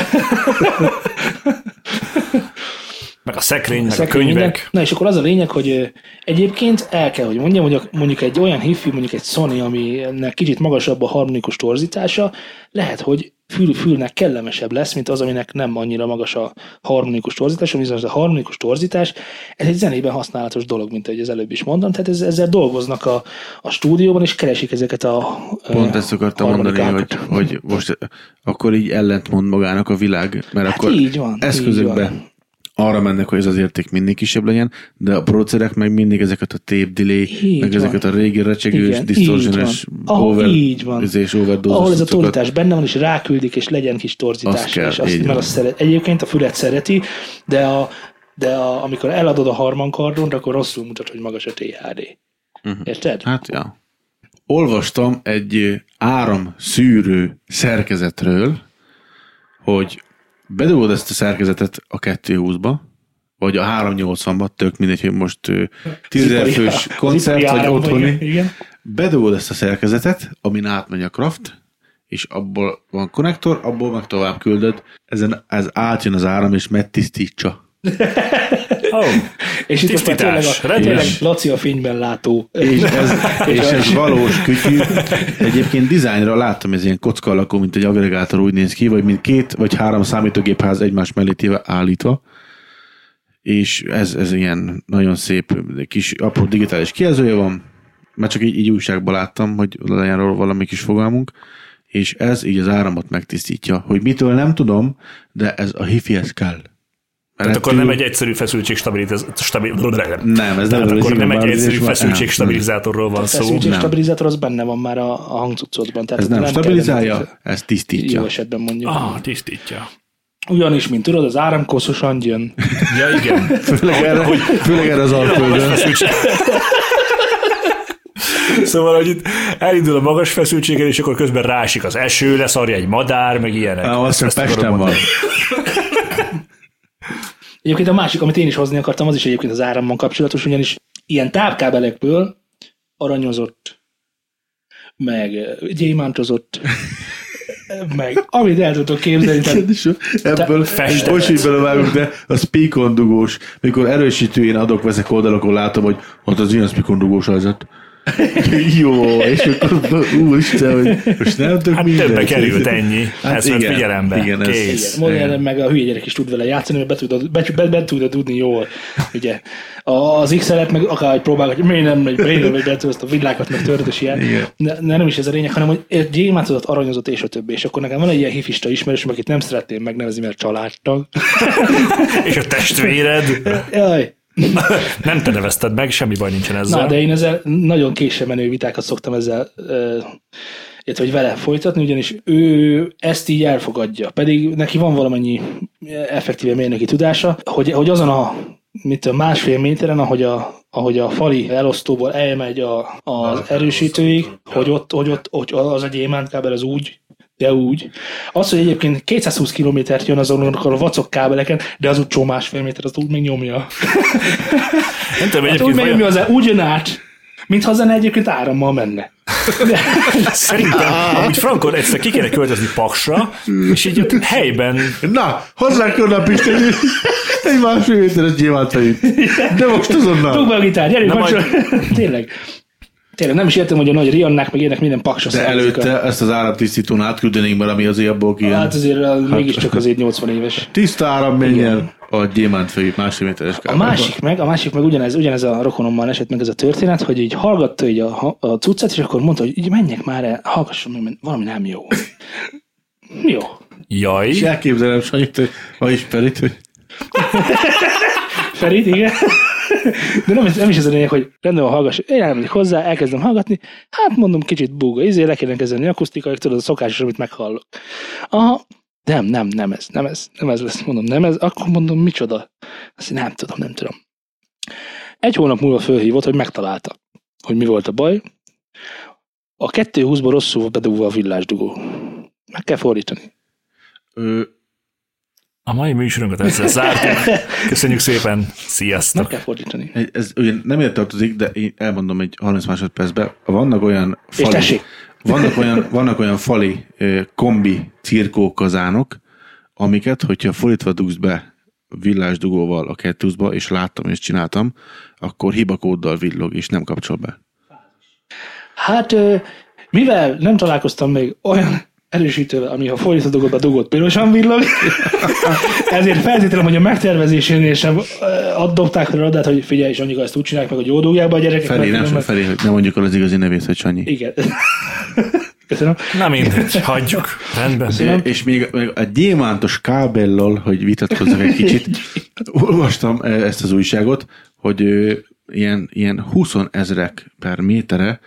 Speaker 3: Meg a szekrény, meg a
Speaker 2: Szekrény, minden.
Speaker 3: könyvek.
Speaker 2: Na és akkor az a lényeg, hogy ö, egyébként el kell, hogy mondjam, hogy a- mondjuk egy olyan hifi, mondjuk egy Sony, aminek kicsit magasabb a harmonikus torzítása, lehet, hogy fül, fülnek kellemesebb lesz, mint az, aminek nem annyira magas a harmonikus torzítás, viszont ez a harmonikus torzítás, ez egy zenében használatos dolog, mint ahogy az előbb is mondtam, tehát ez, ezzel dolgoznak a, a stúdióban, és keresik ezeket a ö,
Speaker 4: Pont ezt akartam mondani, hogy,
Speaker 2: harmonikákat.
Speaker 4: hogy most akkor így ellentmond magának a világ, mert
Speaker 2: Hát
Speaker 4: akkor
Speaker 2: így van, így
Speaker 4: eszközökbe
Speaker 2: van.
Speaker 4: arra mennek, hogy ez az érték mindig kisebb legyen, de a producerek meg mindig ezeket a tape delay,
Speaker 2: Így
Speaker 4: meg
Speaker 2: van.
Speaker 4: ezeket a régi recsegős,
Speaker 2: Igen,
Speaker 4: distortiones,
Speaker 2: így van. Ahol
Speaker 4: over,
Speaker 2: így van.
Speaker 4: és overdose
Speaker 2: ahol ez a
Speaker 4: cuccokat.
Speaker 2: torzítás benne van, és ráküldik, és legyen kis torzítás.
Speaker 4: Azt kell,
Speaker 2: és azt,
Speaker 4: így
Speaker 2: mert
Speaker 4: van.
Speaker 2: azt szeret, egyébként a fület szereti, de, a, de a, amikor eladod a harmankardont, akkor rosszul mutat, hogy magas a THD. Uh-huh. Érted?
Speaker 4: Hát, ja. Olvastam egy áramszűrő szerkezetről, hogy bedobod ezt a szerkezetet a 220-ba, vagy a 380-ba, tök mindegy, hogy most
Speaker 2: Az ipari-
Speaker 4: tízezerfős
Speaker 2: az
Speaker 4: koncert,
Speaker 2: ipari
Speaker 4: vagy
Speaker 2: áramban,
Speaker 4: otthoni.
Speaker 2: igen, Igen.
Speaker 4: Bedobod ezt a szerkezetet, amin átmegy a kraft, és abból van konnektor, abból meg tovább küldöd, ezen, ez átjön az áram, és megtisztítsa
Speaker 3: Oh,
Speaker 2: És itt most már tényleg
Speaker 3: Tisztítás,
Speaker 2: a,
Speaker 3: rendben.
Speaker 2: tényleg Laci a fényben látó.
Speaker 4: És ez, és ez valós kütyű. Egyébként dizájnra láttam, ez ilyen kocka alakú, mint egy agregátor úgy néz ki, vagy mint két vagy három számítógépház egymás mellé téve állítva. És ez, ez ilyen nagyon szép kis apró digitális kijelzője van. Már csak így, így újságban láttam, hogy legyen róla valami kis fogalmunk. És ez így az áramot megtisztítja. Hogy mitől nem tudom, de ez a hifihez kell.
Speaker 3: tehát akkor nem egy egyszerű feszültség stabiliz- stabil...
Speaker 4: hát nem, ez nem,
Speaker 3: Tehát
Speaker 4: az
Speaker 3: akkor nem egy
Speaker 4: imbabázis,
Speaker 3: egyszerű
Speaker 4: van-
Speaker 3: feszültség
Speaker 4: nem, Hát nem.
Speaker 3: stabilizátorról van szó.
Speaker 2: feszültség stabilizátor az benne van már a, a hangcuccodban. Tehát
Speaker 4: Szóval
Speaker 3: Hát
Speaker 4: Ez nem,
Speaker 2: kell
Speaker 4: stabilizálja,
Speaker 2: ennek-
Speaker 4: ez
Speaker 2: Jó
Speaker 4: tisztítja.
Speaker 2: esetben mondjuk.
Speaker 3: Ah, tisztítja.
Speaker 2: Ugyanis, mint tudod, az áramkoszosan jön.
Speaker 3: Ja, igen.
Speaker 4: Főleg erre, hogy főleg erre az alföldön.
Speaker 3: Szóval, hogy itt elindul a magas feszültségen, és akkor közben rásik az eső, leszarja egy madár, meg ilyenek.
Speaker 4: Á, Az csak
Speaker 3: Ezt akarom
Speaker 4: Pesten van.
Speaker 3: mondani.
Speaker 2: Egyébként a másik, amit én is hozni akartam, az is egyébként az árammal kapcsolatos, ugyanis ilyen távkábelekből aranyozott, meg eh, gyémántozott, meg amit el tudtok képzelni, tehát
Speaker 4: Ebből
Speaker 3: festelet.
Speaker 4: most így belevágunk, de a speakon dugós, mikor erősítőjén adok veszek oldalakon, látom, hogy ott az ilyen speakon dugós az lett. Jó, és akkor úristen, hogy most nem tök
Speaker 3: Hát
Speaker 4: mindent.
Speaker 3: többe került ennyi.
Speaker 4: Hát
Speaker 3: Ezt vett
Speaker 4: igen,
Speaker 3: figyelembe.
Speaker 4: igen, ez-
Speaker 3: Kész.
Speaker 2: Igen, Modern meg a hülye gyerek is tud vele játszani, mert be tudod, be, be, be tudod tudni jól. Ugye A- az x et meg akárhogy próbálgat, hogy miért nem megy, miért nem megy, be tudod, azt a világot meg töröd, és ilyen.
Speaker 4: Igen.
Speaker 2: Ne, ne, nem is ez a lényeg, hanem hogy gyémántozott, aranyozott, és a többi. És akkor nekem van egy ilyen hifista ismerősöm, akit nem szeretném megnevezni, mert családtag.
Speaker 3: És a testvéred?
Speaker 2: Jaj,
Speaker 3: Nem te nevezted meg, semmi baj nincsen ezzel.
Speaker 2: Na, de én ezzel nagyon később menő vitákat szoktam ezzel, ö, illetve hogy vele folytatni, ugyanis ő ezt így elfogadja. Pedig neki van valamennyi effektíve mérnöki tudása, hogy, hogy azon a mit tudom, másfél méteren, ahogy a, ahogy a fali elosztóból elmegy a, az erősítőig, hogy ott, hogy ott hogy az egy émánkábel az úgy de úgy. Az, hogy egyébként 220 kilométert jön azon a vacok kábeleken, de az úgy csó másfél méter, az úgy még nyomja.
Speaker 3: nem tudom,
Speaker 2: Hát úgy
Speaker 3: egyébként
Speaker 2: megy, mi
Speaker 3: vajon,
Speaker 2: az úgy jön át, mintha a zene egyébként árammal menne. De,
Speaker 3: szerintem, amúgy Frankon egyszer ki kéne költözni Paksra, és így ott helyben
Speaker 4: Na, hozzánk onnan Pista, egy- egy másfél méteres gyémánt De most
Speaker 2: Dugd
Speaker 4: azonnal.
Speaker 2: be a gitár, gyerünk,
Speaker 3: Na
Speaker 2: kapcsol- Tényleg. Tényleg nem is értem, hogy a nagy Riannák meg ének minden paksa
Speaker 4: De
Speaker 2: szerzik a-
Speaker 4: előtte ezt az áramtisztítón átküldenénk valami azért abból ki.
Speaker 2: Hát azért a- mégiscsak azért 80 éves.
Speaker 4: Tiszta áram menjen a gyémántfejű másfél méteres
Speaker 2: A
Speaker 4: kábelben.
Speaker 2: másik meg, a másik meg ugyanez, ugyanez a rokonommal esett meg ez a történet, hogy így hallgatta így a, a cuccát, és akkor mondta, hogy így menjek már el, hallgasson, meg, mert valami nem jó. Jó.
Speaker 3: jaj,
Speaker 4: És elképzelem Sanyit, hogy ma is Perit, hogy
Speaker 2: Ferit, igen. De nem, nem is ez a lényeg, hogy rendben van, hallgass. Én elmegyek hozzá, elkezdem hallgatni. Hát mondom, kicsit búga, izé, le kéne kezdeni akusztikai, tudod, a szokásos, amit meghallok. Aha, nem, nem, nem ez, nem ez, nem ez lesz, mondom, nem ez, akkor mondom, micsoda. Azt én nem tudom, nem tudom. Egy hónap múlva fölhívott, hogy megtalálta, hogy mi volt a baj. A 220-ba rosszul volt bedugva a villásdugó. Meg kell fordítani.
Speaker 4: ő,
Speaker 3: a mai műsorunkat ezzel zártuk. Köszönjük szépen,
Speaker 2: Meg
Speaker 3: sziasztok!
Speaker 2: kell fordítani.
Speaker 4: egy- ez ugyan nem ért tartozik, de én elmondom egy 30 másodpercben, vannak olyan
Speaker 2: És
Speaker 4: fali,
Speaker 2: tessék,
Speaker 4: vannak olyan, vannak olyan fali ö, kombi cirkó kazánok, amiket, hogyha fordítva dugsz be villásdugóval a kettőzba, és láttam és csináltam, akkor hibakóddal villog, és nem kapcsol be.
Speaker 2: Hát, ö, mivel nem találkoztam még olyan erősítővel, ami ha fordítva dugott, a dugott pirosan villog, ezért feltételem, hogy a megtervezésénél sem ö, ott dobták fel a radát, hogy figyelj, és anyuka ezt úgy csinálják meg, hogy jó dugják be a gyerekek.
Speaker 4: Felé,
Speaker 2: mert
Speaker 4: nem,
Speaker 2: különben-
Speaker 4: felé, hogy nem mondjuk el az igazi nevét, hogy Sanyi.
Speaker 2: Igen. Köszönöm.
Speaker 3: Na mindegy, hagyjuk. Rendben.
Speaker 2: Köszönöm.
Speaker 4: És még, még a gyémántos kábellal, hogy vitatkozzak egy kicsit, olvastam eh, ezt az újságot, hogy ö, ilyen, ilyen 20 ezrek per métere,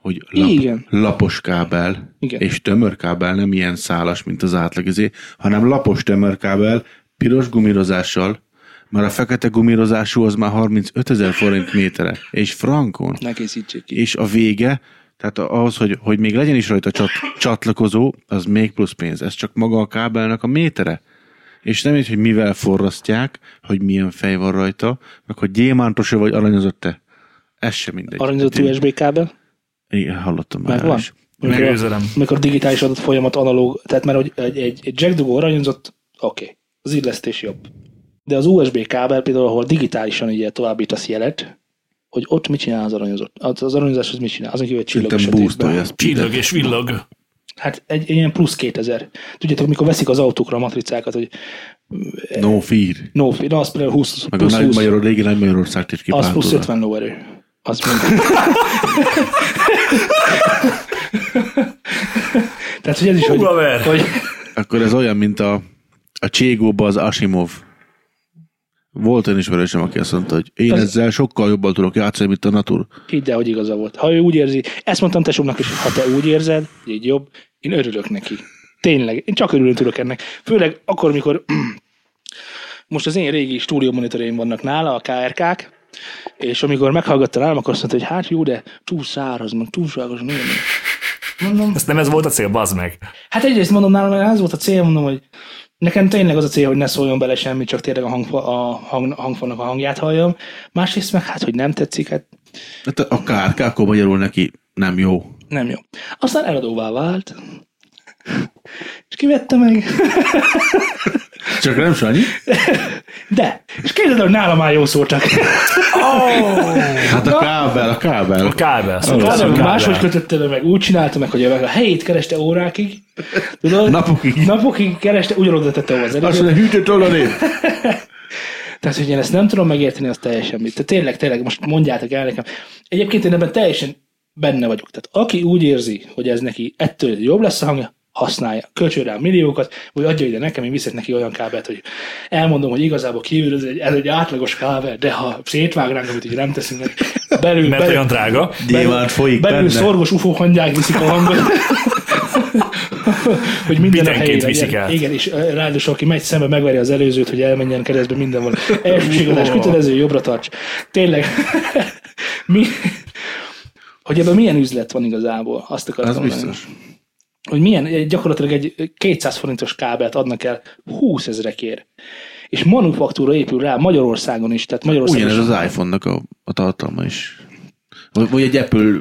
Speaker 4: hogy lap,
Speaker 2: Igen.
Speaker 4: lapos kábel,
Speaker 2: Igen.
Speaker 4: és tömör kábel, nem ilyen szálas, mint az átlagizé, hanem lapos tömör kábel, piros gumirozással, mert a fekete gumírozású az már 35 ezer forint métere, és frankon
Speaker 2: Ne készítsék ki.
Speaker 4: és a vége, tehát a- ahhoz, hogy, hogy még legyen is rajta csat, csatlakozó, az még plusz pénz. Ez csak maga a kábelnek a métere. És nem így, hogy mivel forrasztják, hogy milyen fej van rajta, meg hogy gyémántos-e vagy aranyozott-e. Ez sem mindegy.
Speaker 2: Aranyozott
Speaker 4: Hát én-
Speaker 2: USB kábel,
Speaker 4: Igen, hallottam már.
Speaker 2: megvan.
Speaker 4: erről is.
Speaker 2: Amikor,
Speaker 3: Megőzelem.
Speaker 2: amikor digitális adat folyamat analóg, tehát már hogy egy, egy, egy jack dugó aranyozott, oké, az illesztés jobb. De az USB kábel például, ahol digitálisan ugye továbbítasz jelet, hogy ott mit csinál az aranyozott? Az, az aranyozás az mit csinál? Azon kívül, hogy csillog
Speaker 4: Szerintem boostolja a
Speaker 2: sötétben.
Speaker 3: Csillog
Speaker 4: speedet.
Speaker 3: és villog.
Speaker 2: Hát egy, egy ilyen plusz 2000. Tudjátok, mikor veszik az autókra a matricákat, hogy
Speaker 4: No fear.
Speaker 2: no, na, az például 20,
Speaker 4: Meg a
Speaker 2: plusz
Speaker 4: nagy
Speaker 2: 20,
Speaker 4: Magyar, régi nagy Magyarországt is
Speaker 2: az
Speaker 4: kipáltod.
Speaker 2: plusz 50 lóerő. Az mind. Tehát, hogy ez is, hogy,
Speaker 3: Ugaver!
Speaker 2: hogy
Speaker 4: Akkor ez olyan, mint a, a Cségóba az Asimov. Volt olyan ismerősöm, aki azt mondta, hogy én
Speaker 2: Ez-
Speaker 4: ezzel sokkal jobban tudok játszani, mint a Natur.
Speaker 2: hidd el, hogy igaza volt. Ha ő úgy érzi, ezt mondtam tesómnak is, ha te úgy érzed, hogy így jobb, én örülök neki. Tényleg, én csak örülni tudok ennek. Főleg akkor, mikor most az én régi stúdió monitoraim vannak nála, a KRK-k, és amikor meghallgatta nálam, akkor azt mondta, hogy hát jó, de túl száraz, meg túlságos, miért? Mondom,
Speaker 3: Ezt nem ez volt a cél, bazd meg.
Speaker 2: Hát egyrészt mondom nálam, mert az volt a cél, mondom, hogy nekem tényleg az a cél, hogy ne szóljon bele semmi, csak tényleg a, hang, a hang, hangfonnak a hangját halljam. Másrészt meg hát, hogy nem tetszik, hát
Speaker 4: Hát a KRK, akkor magyarul neki nem jó.
Speaker 2: nem jó. Aztán eladóvá vált, és kivette meg,
Speaker 4: Csak nem Sanyi?
Speaker 2: de, és képzeld, el, hogy nálam már jó szó csak. Oh!
Speaker 4: Hát a kábel, a kábel.
Speaker 3: A kábel.
Speaker 4: Ó,
Speaker 2: Nálam
Speaker 4: szóval
Speaker 2: máshogy kötötte be meg, úgy csinálta meg, hogy a, a helyét kereste órákig, tudod?
Speaker 4: Napokig.
Speaker 2: Napokig kereste, ugyanoda tette hova az
Speaker 4: Azt
Speaker 2: előbb.
Speaker 4: mondja, hűtött oldalé.
Speaker 2: Tehát, hogy én ezt nem tudom megérteni, az teljesen mit. Tehát tényleg, tényleg, most mondjátok el nekem. Egyébként én ebben teljesen benne vagyok. Tehát aki úgy érzi, hogy ez neki ettől jobb lesz a hangja, használja, költsön rá milliókat, vagy adja ide nekem, én viszek neki olyan kábelt, hogy elmondom, hogy igazából kívül ez egy, ez egy átlagos kábel, de ha szétvágnánk, amit így nem teszünk meg, belül,
Speaker 3: Mert
Speaker 2: belül,
Speaker 3: olyan drága.
Speaker 4: Gyémánt folyik
Speaker 2: belül
Speaker 4: benne.
Speaker 2: szorgos ufó hangyák viszik a hangot. hogy minden a
Speaker 3: Bitenként
Speaker 2: helyén
Speaker 3: viszik
Speaker 2: legyen.
Speaker 3: át.
Speaker 2: Igen, és ö, ráadásul aki megy szembe, megveri az előzőt, hogy elmenjen keresztbe mindenhol. Elsőségadás kötelező, jobbra tarts. Tényleg. Mi? Hogy ebben milyen üzlet van igazából, azt akartam
Speaker 4: Az
Speaker 2: mondani.
Speaker 4: biztos.
Speaker 2: Hogy milyen, gyakorlatilag egy 200 forintos kábelt adnak el 20 ezerekért. És manufaktúra épül rá Magyarországon is, tehát Magyarországon
Speaker 4: Ugyanez
Speaker 2: is.
Speaker 4: az iPhone-nak a, a tartalma is. Vagy, vagy egy Apple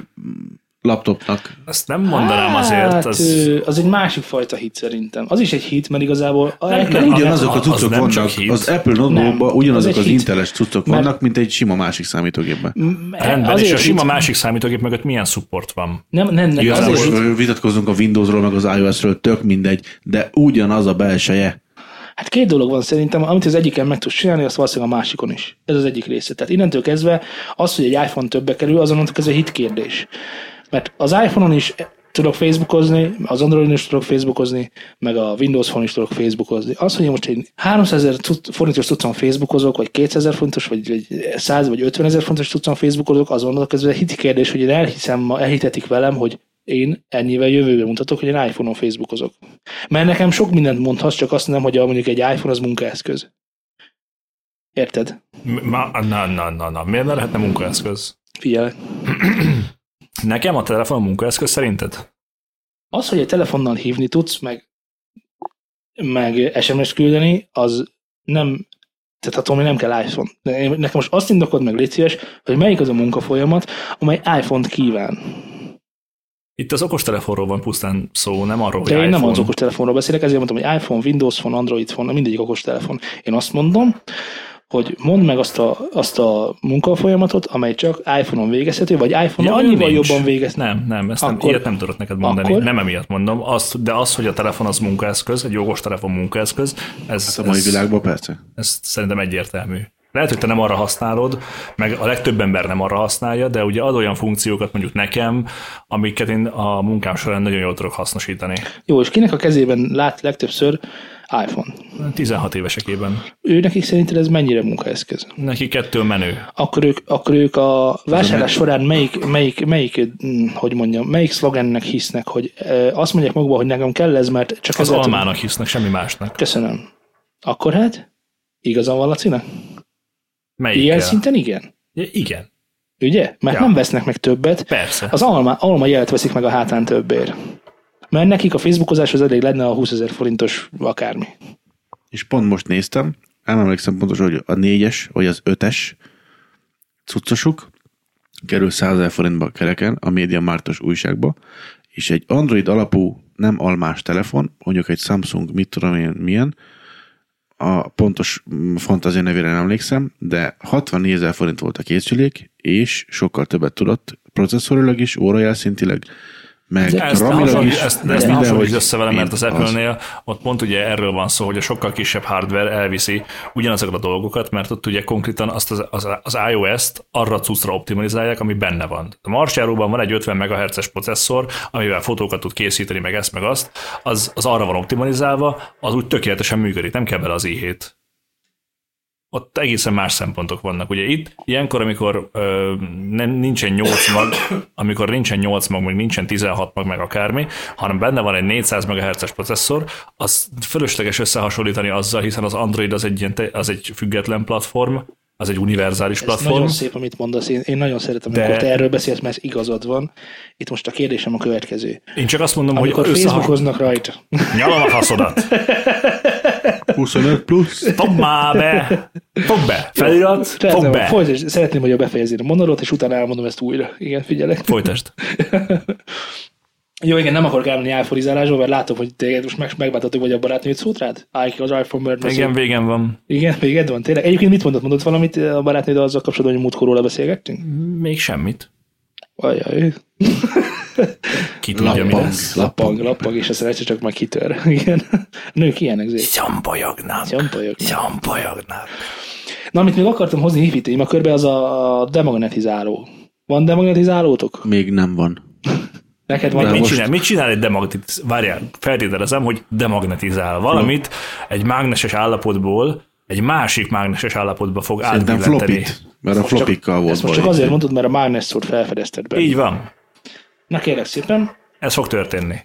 Speaker 4: laptopnak.
Speaker 3: Ezt nem mondanám azért.
Speaker 2: Hát,
Speaker 3: Az,
Speaker 2: ö, az egy másik fajta hit szerintem. Az is egy hit, mert igazából... el kell
Speaker 3: nem,
Speaker 2: hinni-
Speaker 4: Ugyanazok a
Speaker 3: az
Speaker 4: cuccok
Speaker 3: nem csak
Speaker 4: vannak.
Speaker 3: hit.
Speaker 4: Az Apple
Speaker 2: Nem,
Speaker 4: notebookban
Speaker 2: az
Speaker 4: ugyanazok
Speaker 2: egy
Speaker 4: az
Speaker 2: hit.
Speaker 4: inteles cuccok
Speaker 2: Mert-
Speaker 4: vannak, mint egy sima másik számítógépben.
Speaker 3: rendben, és
Speaker 2: azért
Speaker 3: a sima
Speaker 2: hit.
Speaker 3: másik számítógép mögött milyen support van?
Speaker 2: Nem, nem, nem.
Speaker 3: Igazából
Speaker 2: azért
Speaker 4: Most
Speaker 2: hit.
Speaker 4: vitatkozunk a Windowsról, meg az iOS-ről, tök mindegy, de ugyanaz a belseje.
Speaker 2: Hát két dolog van szerintem, amit az egyiken meg tudsz csinálni, azt valószínűleg a másikon is. Ez az egyik része. Tehát innentől kezdve az, hogy egy iPhone többe kerül, azon ez egy hit kérdés. Mert az iPhone-on is tudok Facebookozni, az Androidon is tudok Facebookozni, meg a Windows Phone is tudok Facebookozni. Az, hogy én most én 300 ezer forintos tudtam Facebookozok, vagy 200 ezer forintos, vagy, vagy 100 vagy 50 ezer forintos tudtam Facebookozok, azon ez egy hit kérdés, hogy én elhiszem, ma elhitetik velem, hogy én ennyivel jövőbe mutatok, hogy én iPhone-on Facebookozok. Mert nekem sok mindent mondhatsz, csak azt nem, hogy a, mondjuk egy iPhone az munkaeszköz. Érted?
Speaker 3: M- ma- Na, na, na, na. Miért ne lehetne munkaeszköz?
Speaker 2: Figyelj.
Speaker 3: Nekem a telefon munkaeszköz szerinted?
Speaker 2: Az, hogy a telefonnal hívni tudsz, meg, meg SMS küldeni, az nem, tehát attól még nem kell iPhone. De én- Nekem most azt indokod meg, légy szíves, hogy melyik az a munkafolyamat, amely iPhone-t kíván.
Speaker 3: Itt az okostelefonról van pusztán szó, nem arról,
Speaker 2: De
Speaker 3: hogy
Speaker 2: én nem
Speaker 3: iPhone.
Speaker 2: az okostelefonról beszélek, ezért mondtam, hogy iPhone, Windows Phone, Android Phone, mindegyik okostelefon. Én azt mondom, hogy mondd meg azt a, azt a munkafolyamatot, amely csak iPhone-on végezhető, vagy iPhone-on
Speaker 3: Ja,
Speaker 2: ja,
Speaker 3: olyan
Speaker 2: annyival
Speaker 3: nincs.
Speaker 2: jobban végez.
Speaker 3: Nem, nem, ezt nem,
Speaker 2: Akkor-
Speaker 3: ilyet nem tudok neked mondani.
Speaker 2: akkor-
Speaker 3: Nem emiatt mondom, azt, de az, hogy a telefon az munkaeszköz, egy jogos telefon munkaeszköz, ez,
Speaker 2: Hát
Speaker 4: A mai
Speaker 3: ez,
Speaker 4: világban persze.
Speaker 3: ez szerintem egyértelmű. Lehet, hogy te nem arra használod, meg a legtöbb ember nem arra használja, de ugye ad olyan funkciókat mondjuk nekem, amiket én a munkám során nagyon jól tudok hasznosítani.
Speaker 2: Jó, és kinek a kezében lát legtöbbször iPhone?
Speaker 3: 16 évesekében.
Speaker 2: Ő nekik szerinted ez mennyire munkaeszköz?
Speaker 3: Neki kettő menő.
Speaker 2: Akkor ők, akkor ők a vásárlás során melyik, melyik, melyik, mm, hogy mondjam, melyik szlogennek hisznek, hogy ö, azt mondják magukban, hogy nekem kell ez, mert csak
Speaker 3: Az
Speaker 2: ezzel tudom-
Speaker 3: almának hisznek, semmi másnak.
Speaker 2: Köszönöm. Akkor hát, igazam van Lacinak?
Speaker 3: Melyik?
Speaker 2: Ilyen szinten igen.
Speaker 3: Igen,
Speaker 2: Ugye? Mert
Speaker 3: Ja.
Speaker 2: ja. nem vesznek meg többet.
Speaker 3: persze.
Speaker 2: Az alma, alma jelet veszik meg a hátán többért. Mert nekik a Facebookozáshoz elég lenne a 20 ezer forintos akármi.
Speaker 4: És pont most néztem, nem emlékszem pontosan, hogy a négyes, vagy az ötes cuccosuk kerül 100 ezer forintba a kereken a Média Mártos újságba, és egy Android alapú, nem almás telefon, mondjuk egy Samsung, mit tudom én, milyen, a pontos mm, fantázia nevére nem emlékszem, de 64 ezer forint volt a készülék, és sokkal többet tudott processzorilag is, órajelszintileg, meg
Speaker 3: Ezt ne
Speaker 4: ramilag
Speaker 3: hasonlíts-
Speaker 4: is.
Speaker 3: ezt,
Speaker 4: meg
Speaker 3: ezt ne
Speaker 4: mindenhogy
Speaker 3: hasonlítsd össze velem, mert az
Speaker 4: mind
Speaker 3: Apple-nél ott pont ugye erről van szó, hogy a sokkal kisebb hardware elviszi ugyanazokat a dolgokat, mert ott ugye konkrétan azt az, az, az iOS-t arra a cuccra optimalizálják, ami benne van. A marsjáróban van egy 50 MHz-es processzor, amivel fotókat tud készíteni, meg ezt, meg azt, az, az arra van optimalizálva, az úgy tökéletesen működik, nem kell bele az i7 ott egészen más szempontok vannak. Ugye itt ilyenkor, amikor ö, nem, nincsen 8 mag, amikor nincsen 8 mag, meg nincsen 16 mag, meg akármi, hanem benne van egy 400 MHz-es processzor, az fölösleges összehasonlítani azzal, hiszen az Android az egy, ilyen, te- az egy független platform, az egy univerzális
Speaker 2: Ez nagyon
Speaker 3: platform.
Speaker 2: szép, amit mondasz. Én, én nagyon szeretem,
Speaker 3: De-
Speaker 2: de... amikor te erről beszélsz, mert igazad van. Itt most a kérdésem a következő.
Speaker 3: Én csak azt mondom,
Speaker 2: Amikor
Speaker 3: hogy összehasonlítani.
Speaker 2: Facebookoznak rajta,
Speaker 3: Nyalom a faszodat!
Speaker 4: 25 plusz.
Speaker 3: Fogd már be! Fogd be! Felirat, fogd
Speaker 2: Rendben van,
Speaker 3: be!
Speaker 2: folytasd, szeretném, hogy a befejezed a monolot, és utána elmondom ezt újra. Igen, figyelek.
Speaker 3: Folytasd.
Speaker 2: Jó, igen, nem akarok elmenni áforizálásba, mert látom, hogy téged most meg, megbántottuk, vagy a barátnőt szót rád? Áj, az iPhone Bird.
Speaker 3: Igen, végem van.
Speaker 2: igen, véged van, tényleg. Egyébként mit mondott? Mondott valamit a barátnőd azzal kapcsolatban, hogy múltkor róla beszélgettünk?
Speaker 3: Még semmit.
Speaker 2: Ajaj,
Speaker 3: Ki tudja, mi
Speaker 4: Lappang.
Speaker 3: lesz.
Speaker 2: lappang, lappang, és aztán egyszer csak már kitör. Igen. Nők ilyenek, zé.
Speaker 3: Szambolyognak.
Speaker 2: Szambolyognak.
Speaker 3: Szambolyognak.
Speaker 2: Na, amit még akartam hozni hippi témakörbe, az a demagnetizáló. Van demagnetizálótok?
Speaker 4: Még nem van.
Speaker 2: Neked van? Nem.
Speaker 4: Nem.
Speaker 3: Mit
Speaker 4: most-
Speaker 3: csinál, mit csinál egy demagnetizál? Várjál, feltételezem, hogy demagnetizál valamit
Speaker 4: Hm.
Speaker 3: egy mágneses állapotból egy másik mágneses állapotba fog
Speaker 4: Szerintem
Speaker 3: átbillenteni.
Speaker 4: flopit, mert a flopikkal volt
Speaker 2: Ezt most csak
Speaker 4: baj.
Speaker 2: azért mondod, mert a mágnes szót felfedezted be.
Speaker 3: Így van.
Speaker 2: Na kérlek szépen,
Speaker 3: Ez fog történni.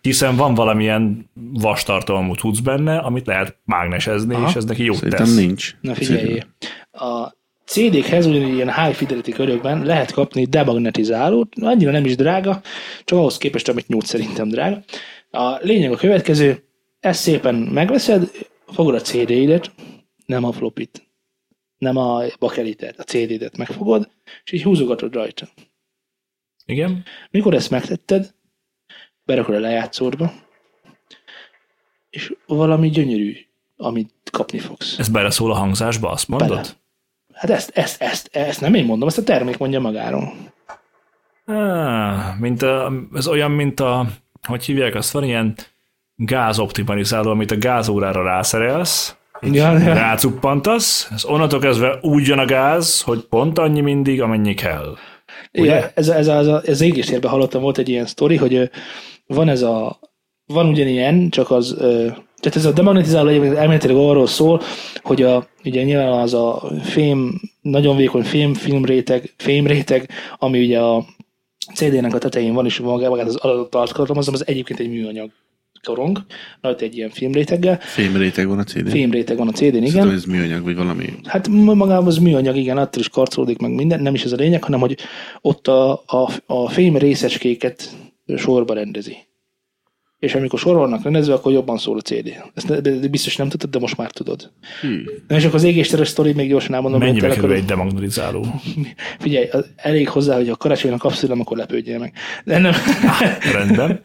Speaker 3: Hiszen van valamilyen vastartalmú tudsz benne, amit lehet mágnesezni, és ez neki jót
Speaker 4: Szerintem
Speaker 3: tesz.
Speaker 4: nincs.
Speaker 2: Na figyelj,
Speaker 4: Szerintem-
Speaker 2: a CD-khez ugyanígy ilyen high fidelity körökben lehet kapni demagnetizálót, annyira nem is drága, csak ahhoz képest, amit nyújt szerintem drága. A lényeg a következő, ezt szépen megveszed, fogod a CD-idet, nem a flopit, nem a bakelitet, a CD-det megfogod, és így húzogatod rajta.
Speaker 3: Igen?
Speaker 2: Mikor ezt megtetted, berakod a lejátszódba, és valami gyönyörű, amit kapni fogsz.
Speaker 3: Ez beleszól a hangzásba, azt mondod?
Speaker 2: Bele. Hát ezt, ezt, ezt, ezt nem én mondom, ezt a termék mondja magáról.
Speaker 3: Ah, mint a, ez olyan, mint a, hogy hívják azt, van ilyen gázoptimalizáló, amit a gázórára rászerelsz,
Speaker 2: Ja, ja.
Speaker 3: rácuppantasz, ez onnantól kezdve úgy jön a gáz, hogy pont annyi mindig, amennyi kell.
Speaker 2: ja ez, ez, ez, ez égéstérben hallottam, volt egy ilyen sztori, hogy ö, van ez a, van ugyanilyen, csak az, ö, tehát ez a demagnetizáló egyébként elméletileg arról szól, hogy a, ugye nyilván az a fém, nagyon vékony fém, filmréteg, fémréteg, ami ugye a CD-nek a tetején van, és magá- magát az adott tartalmazom, az egyébként egy műanyag korong, rajta egy ilyen filmréteggel.
Speaker 4: Fémréteg van a CD. Fém,
Speaker 2: Fémréteg van a CD-n, igen.
Speaker 4: Szerintem ez műanyag, vagy valami.
Speaker 2: Hát ma- magában az műanyag, igen, attól is karcolódik meg minden, nem is ez a lényeg, hanem hogy ott a, a, a fém részecskéket sorba rendezi. És amikor sorba vannak rendezve, akkor jobban szól a CD. Ezt ne, de, de biztos nem tudtad, de most már tudod.
Speaker 4: Hű.
Speaker 2: Na és akkor az égésteres sztori még gyorsan elmondom. mert
Speaker 3: Hmm. Mennyibe
Speaker 2: tele
Speaker 3: kerül
Speaker 2: körül-
Speaker 3: egy demagnetizáló?
Speaker 2: Figyelj, az- elég hozzá, hogy a karácsonynak kapsz tőlem, akkor lepődjél meg. De nem.
Speaker 3: Rendben.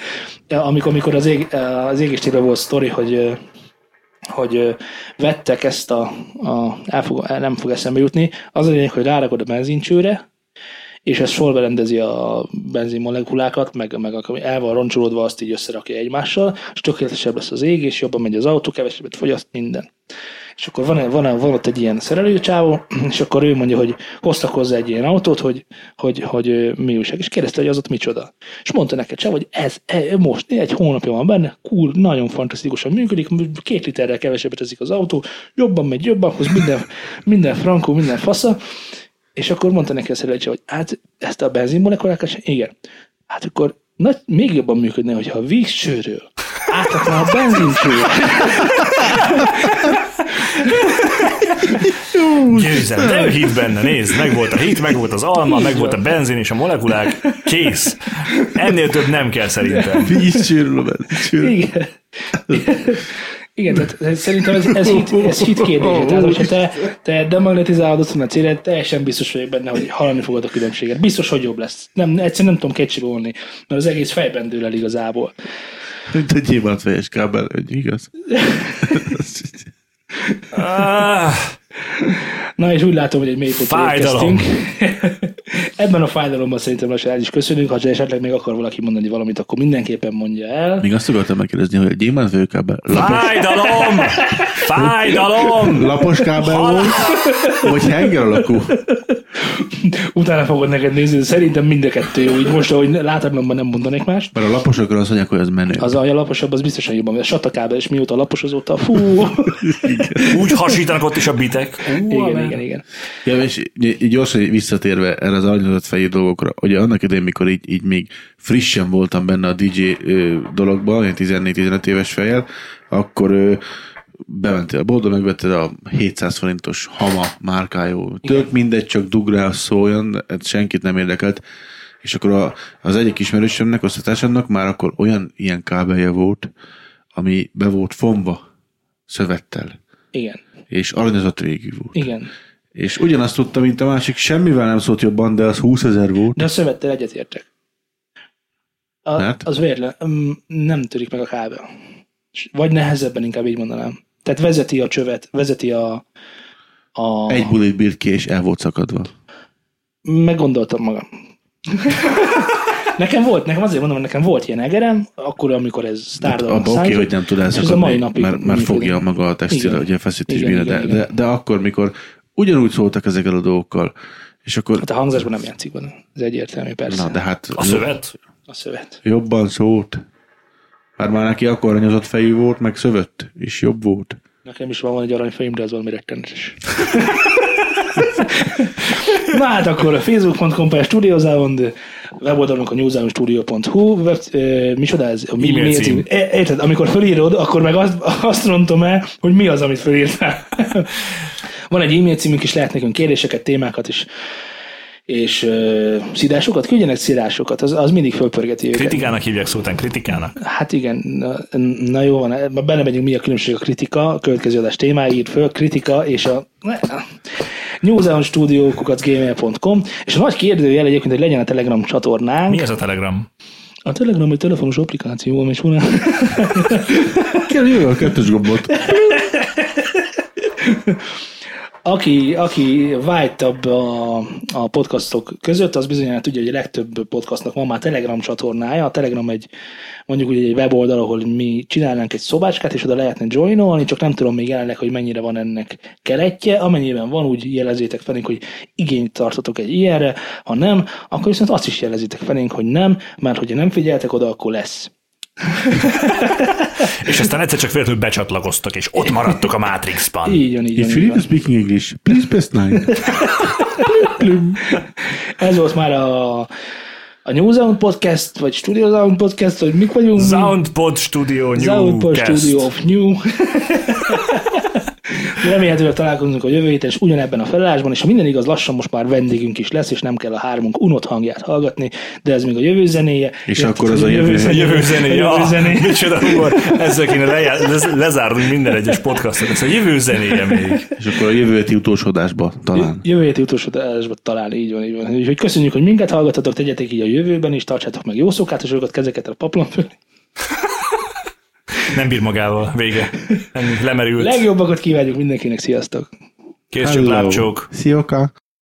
Speaker 2: Ja, amikor, amikor az, ég, az égéstérben volt sztori, hogy ö, hogy ö, vettek ezt a, a el fog, el nem fog eszembe jutni, az a lényeg, hogy rárakod a benzincsőre, és ez sorba rendezi a benzinmolekulákat, meg, meg a- el van roncsolódva, azt így összerakja egymással, és tökéletesebb lesz az ég, és jobban megy az autó, kevesebbet fogyaszt, minden. És akkor van, van, van ott egy ilyen szerelőcsávó, és akkor ő mondja, hogy hoztak hozzá egy ilyen autót, hogy, hogy, hogy ö, mi újság. És kérdezte, hogy az ott micsoda. És mondta neked csáv, hogy ez e, most egy hónapja van benne, cool, nagyon fantasztikusan működik, két literrel kevesebbet ezik az autó, jobban megy, jobban hoz, minden, minden frankó, minden fasza. És akkor mondta neki a szerelőcsávó, hogy hát ezt a benzinmolekulákat sem, igen. Hát akkor nagy, még jobban működne, hogyha a vízsőről átrakná a benzincsőre.
Speaker 3: Győzem, de ő hitt benne, nézd, meg volt a hit, meg volt az alma, meg volt a benzin és a molekulák, kész. Ennél több nem kell szerintem.
Speaker 4: Víz csőrül a benzicsőről.
Speaker 2: Igen. Igen, tehát szerintem ez, ez, hit, ez hit kérdése. Tehát, hogyha te, te demagnetizálod azt a célet, teljesen biztos vagyok benne, hogy hallani fogod a különbséget. Biztos, hogy jobb lesz. Nem, egyszerűen nem tudom kétségbe vonni, mert az egész fejben dől el igazából.
Speaker 4: Mint egy hibát fejes kábel, hogy igaz?
Speaker 3: Ah,
Speaker 2: Na, és úgy látom, hogy egy mélypontra
Speaker 3: Fájdalom.
Speaker 2: érkeztünk. Ebben a fájdalomban szerintem lassan el is köszönünk. Ha esetleg még akar valaki mondani valamit, akkor mindenképpen mondja el.
Speaker 4: Még azt akartam megkérdezni, hogy a gyémánt főkábel lapos,
Speaker 3: fájdalom! Fájdalom!
Speaker 4: lapos kábel volt, vagy henger alakú?
Speaker 2: Utána fogod neked nézni, de szerintem mind a kettő jó. Így most, ahogy láthatatlanban nem mondanék mást.
Speaker 4: Mert a laposokra azt mondják, hogy az menő.
Speaker 2: Az, ahogy a laposabb, az biztosan jobban. A satakába, és mióta lapos azóta, fú.
Speaker 3: Úgy hasítanak ott is a bitek. Ú,
Speaker 2: igen,
Speaker 3: amen.
Speaker 2: igen, igen.
Speaker 4: Ja, és így gyorsan így visszatérve erre az agyazott fejű dolgokra, ugye annak idején, mikor így, így még frissen voltam benne a DJ ö, dologban, olyan 14-15 éves fejjel, akkor ö, bementél a boltba, megvetted a 700 forintos Hama márkájú. Tök mindegy, csak dug rá a szó, olyan, ez hát senkit nem érdekelt. És akkor a, az egyik ismerősömnek, osztatásának már akkor olyan ilyen kábelje volt, ami be volt fonva szövettel,
Speaker 2: Igen,
Speaker 4: és aranyozott végig volt.
Speaker 2: igen.
Speaker 4: És ugyanazt tudta, mint a másik, semmivel nem szólt jobban, de az 20 ezer volt.
Speaker 2: De a szövettel egyetértek. A,
Speaker 4: Mert?
Speaker 2: Az vérlen, mm, nem törik meg a kábel. S- Vagy nehezebben inkább így mondanám. Tehát vezeti a csövet, vezeti a... a...
Speaker 4: Egy bulit bírt ki, és el volt szakadva. Hát
Speaker 2: Meggondoltam magam. nekem volt, nekem azért mondom, hogy nekem volt ilyen egerem, akkor, amikor ez sztárdalom
Speaker 4: Abba oké, hogy nem tud
Speaker 2: ez a mai
Speaker 4: elszakadni,
Speaker 2: napig
Speaker 4: mert, mert
Speaker 2: működik.
Speaker 4: fogja maga a textil,
Speaker 2: Igen.
Speaker 4: ugye feszítés
Speaker 2: Igen,
Speaker 4: bírja,
Speaker 2: igen,
Speaker 4: de,
Speaker 2: igen.
Speaker 4: de, de akkor, mikor ugyanúgy szóltak ezekkel a dolgokkal, és akkor,
Speaker 2: Hát a hangzásban nem játszik benne. Ez egyértelmű, persze.
Speaker 4: na de hát
Speaker 3: A szövet?
Speaker 2: A szövet.
Speaker 4: jobban szólt. Hát Már már neki akkor anyazott fejű volt, meg szövött, és jobb volt.
Speaker 2: Nekem is van, van egy aranyfejém, de az valami rettenetes. Na hát akkor a facebook.com per studiozound, weboldalunk a newzoundstudio.hu, web, e, micsoda ez? A mi,
Speaker 3: E-mail
Speaker 2: mi
Speaker 3: cím.
Speaker 2: E, érted, amikor fölírod, akkor meg azt, azt rontom el, hogy mi az, amit fölírtál. van egy e-mail címünk is, lehet nekünk kérdéseket, témákat is, és ö, szidásokat, küldjenek szidásokat, az, az mindig fölpörgeti őket.
Speaker 3: Kritikának hívják szó után, kritikának.
Speaker 2: Hát igen, na, na jó van, ebbe belemegyünk, mi a különbség a kritika, a következő adás témája, ír föl, kritika és a... newsoundstudio.gmail.com és a nagy kérdőjel egyébként, hogy legyen a Telegram csatornánk.
Speaker 3: Mi ez a Telegram?
Speaker 2: A Telegram egy telefonos applikáció, ami során...
Speaker 4: Kell jövő a kettős gombot.
Speaker 2: Aki, aki vágytabb a, a podcastok között, az bizonyára tudja, hogy a legtöbb podcastnak van már Telegram csatornája. A Telegram egy, mondjuk úgy egy weboldal, ahol mi csinálnánk egy szobácskát, és oda lehetne joinolni, csak nem tudom még jelenleg, hogy mennyire van ennek keletje. Amennyiben van, úgy jelezzétek felénk, hogy igényt tartotok egy ilyenre, ha nem, akkor viszont azt is jelezzétek felénk, hogy nem, mert hogyha nem figyeltek oda, akkor lesz.
Speaker 3: És aztán egyszer csak véletlenül becsatlakoztak, és ott maradtok a Matrixban.
Speaker 2: Így van, így van.
Speaker 4: If
Speaker 2: Így
Speaker 4: you need
Speaker 2: van.
Speaker 4: to speak English, please press nine.
Speaker 2: Ez volt már a a New Zealand Podcast, vagy Studio Zealand Podcast, hogy mik vagyunk. mi?
Speaker 3: Soundpod Studio
Speaker 2: Zaunpol Studio
Speaker 3: Newcast.
Speaker 2: of New. Remélhetőleg találkozunk a jövő héten, és ugyanebben a felállásban, és ha minden igaz, lassan most már vendégünk is lesz, és nem kell a hármunk unott hangját hallgatni, de ez még a jövő zenéje.
Speaker 4: És
Speaker 2: Érted,
Speaker 4: akkor az
Speaker 2: hogy
Speaker 4: a jövő-
Speaker 3: A jövő zenéje.
Speaker 2: A jövő zenéje.
Speaker 3: Ah, micsoda humor. Ezzel kéne lejá- lez- lezárni minden egyes podcastot. Ez a jövő zenéje még.
Speaker 4: És akkor a jövő heti utolsó adásba talán.
Speaker 2: Jövő héti utolsó adásban talán így van, így van. Úgyhogy köszönjük, hogy minket hallgatatok, tegyetek így a jövőben is, tartsátok meg jó szokátosokat, kezeket a paplon fölé.
Speaker 3: Nem bír magával. Vége. Ennyi. Lemerült.
Speaker 2: Legjobbakat kívánjuk mindenkinek, sziasztok!
Speaker 3: Később
Speaker 4: Hello.
Speaker 3: lábcsók.
Speaker 4: Szia, Oka.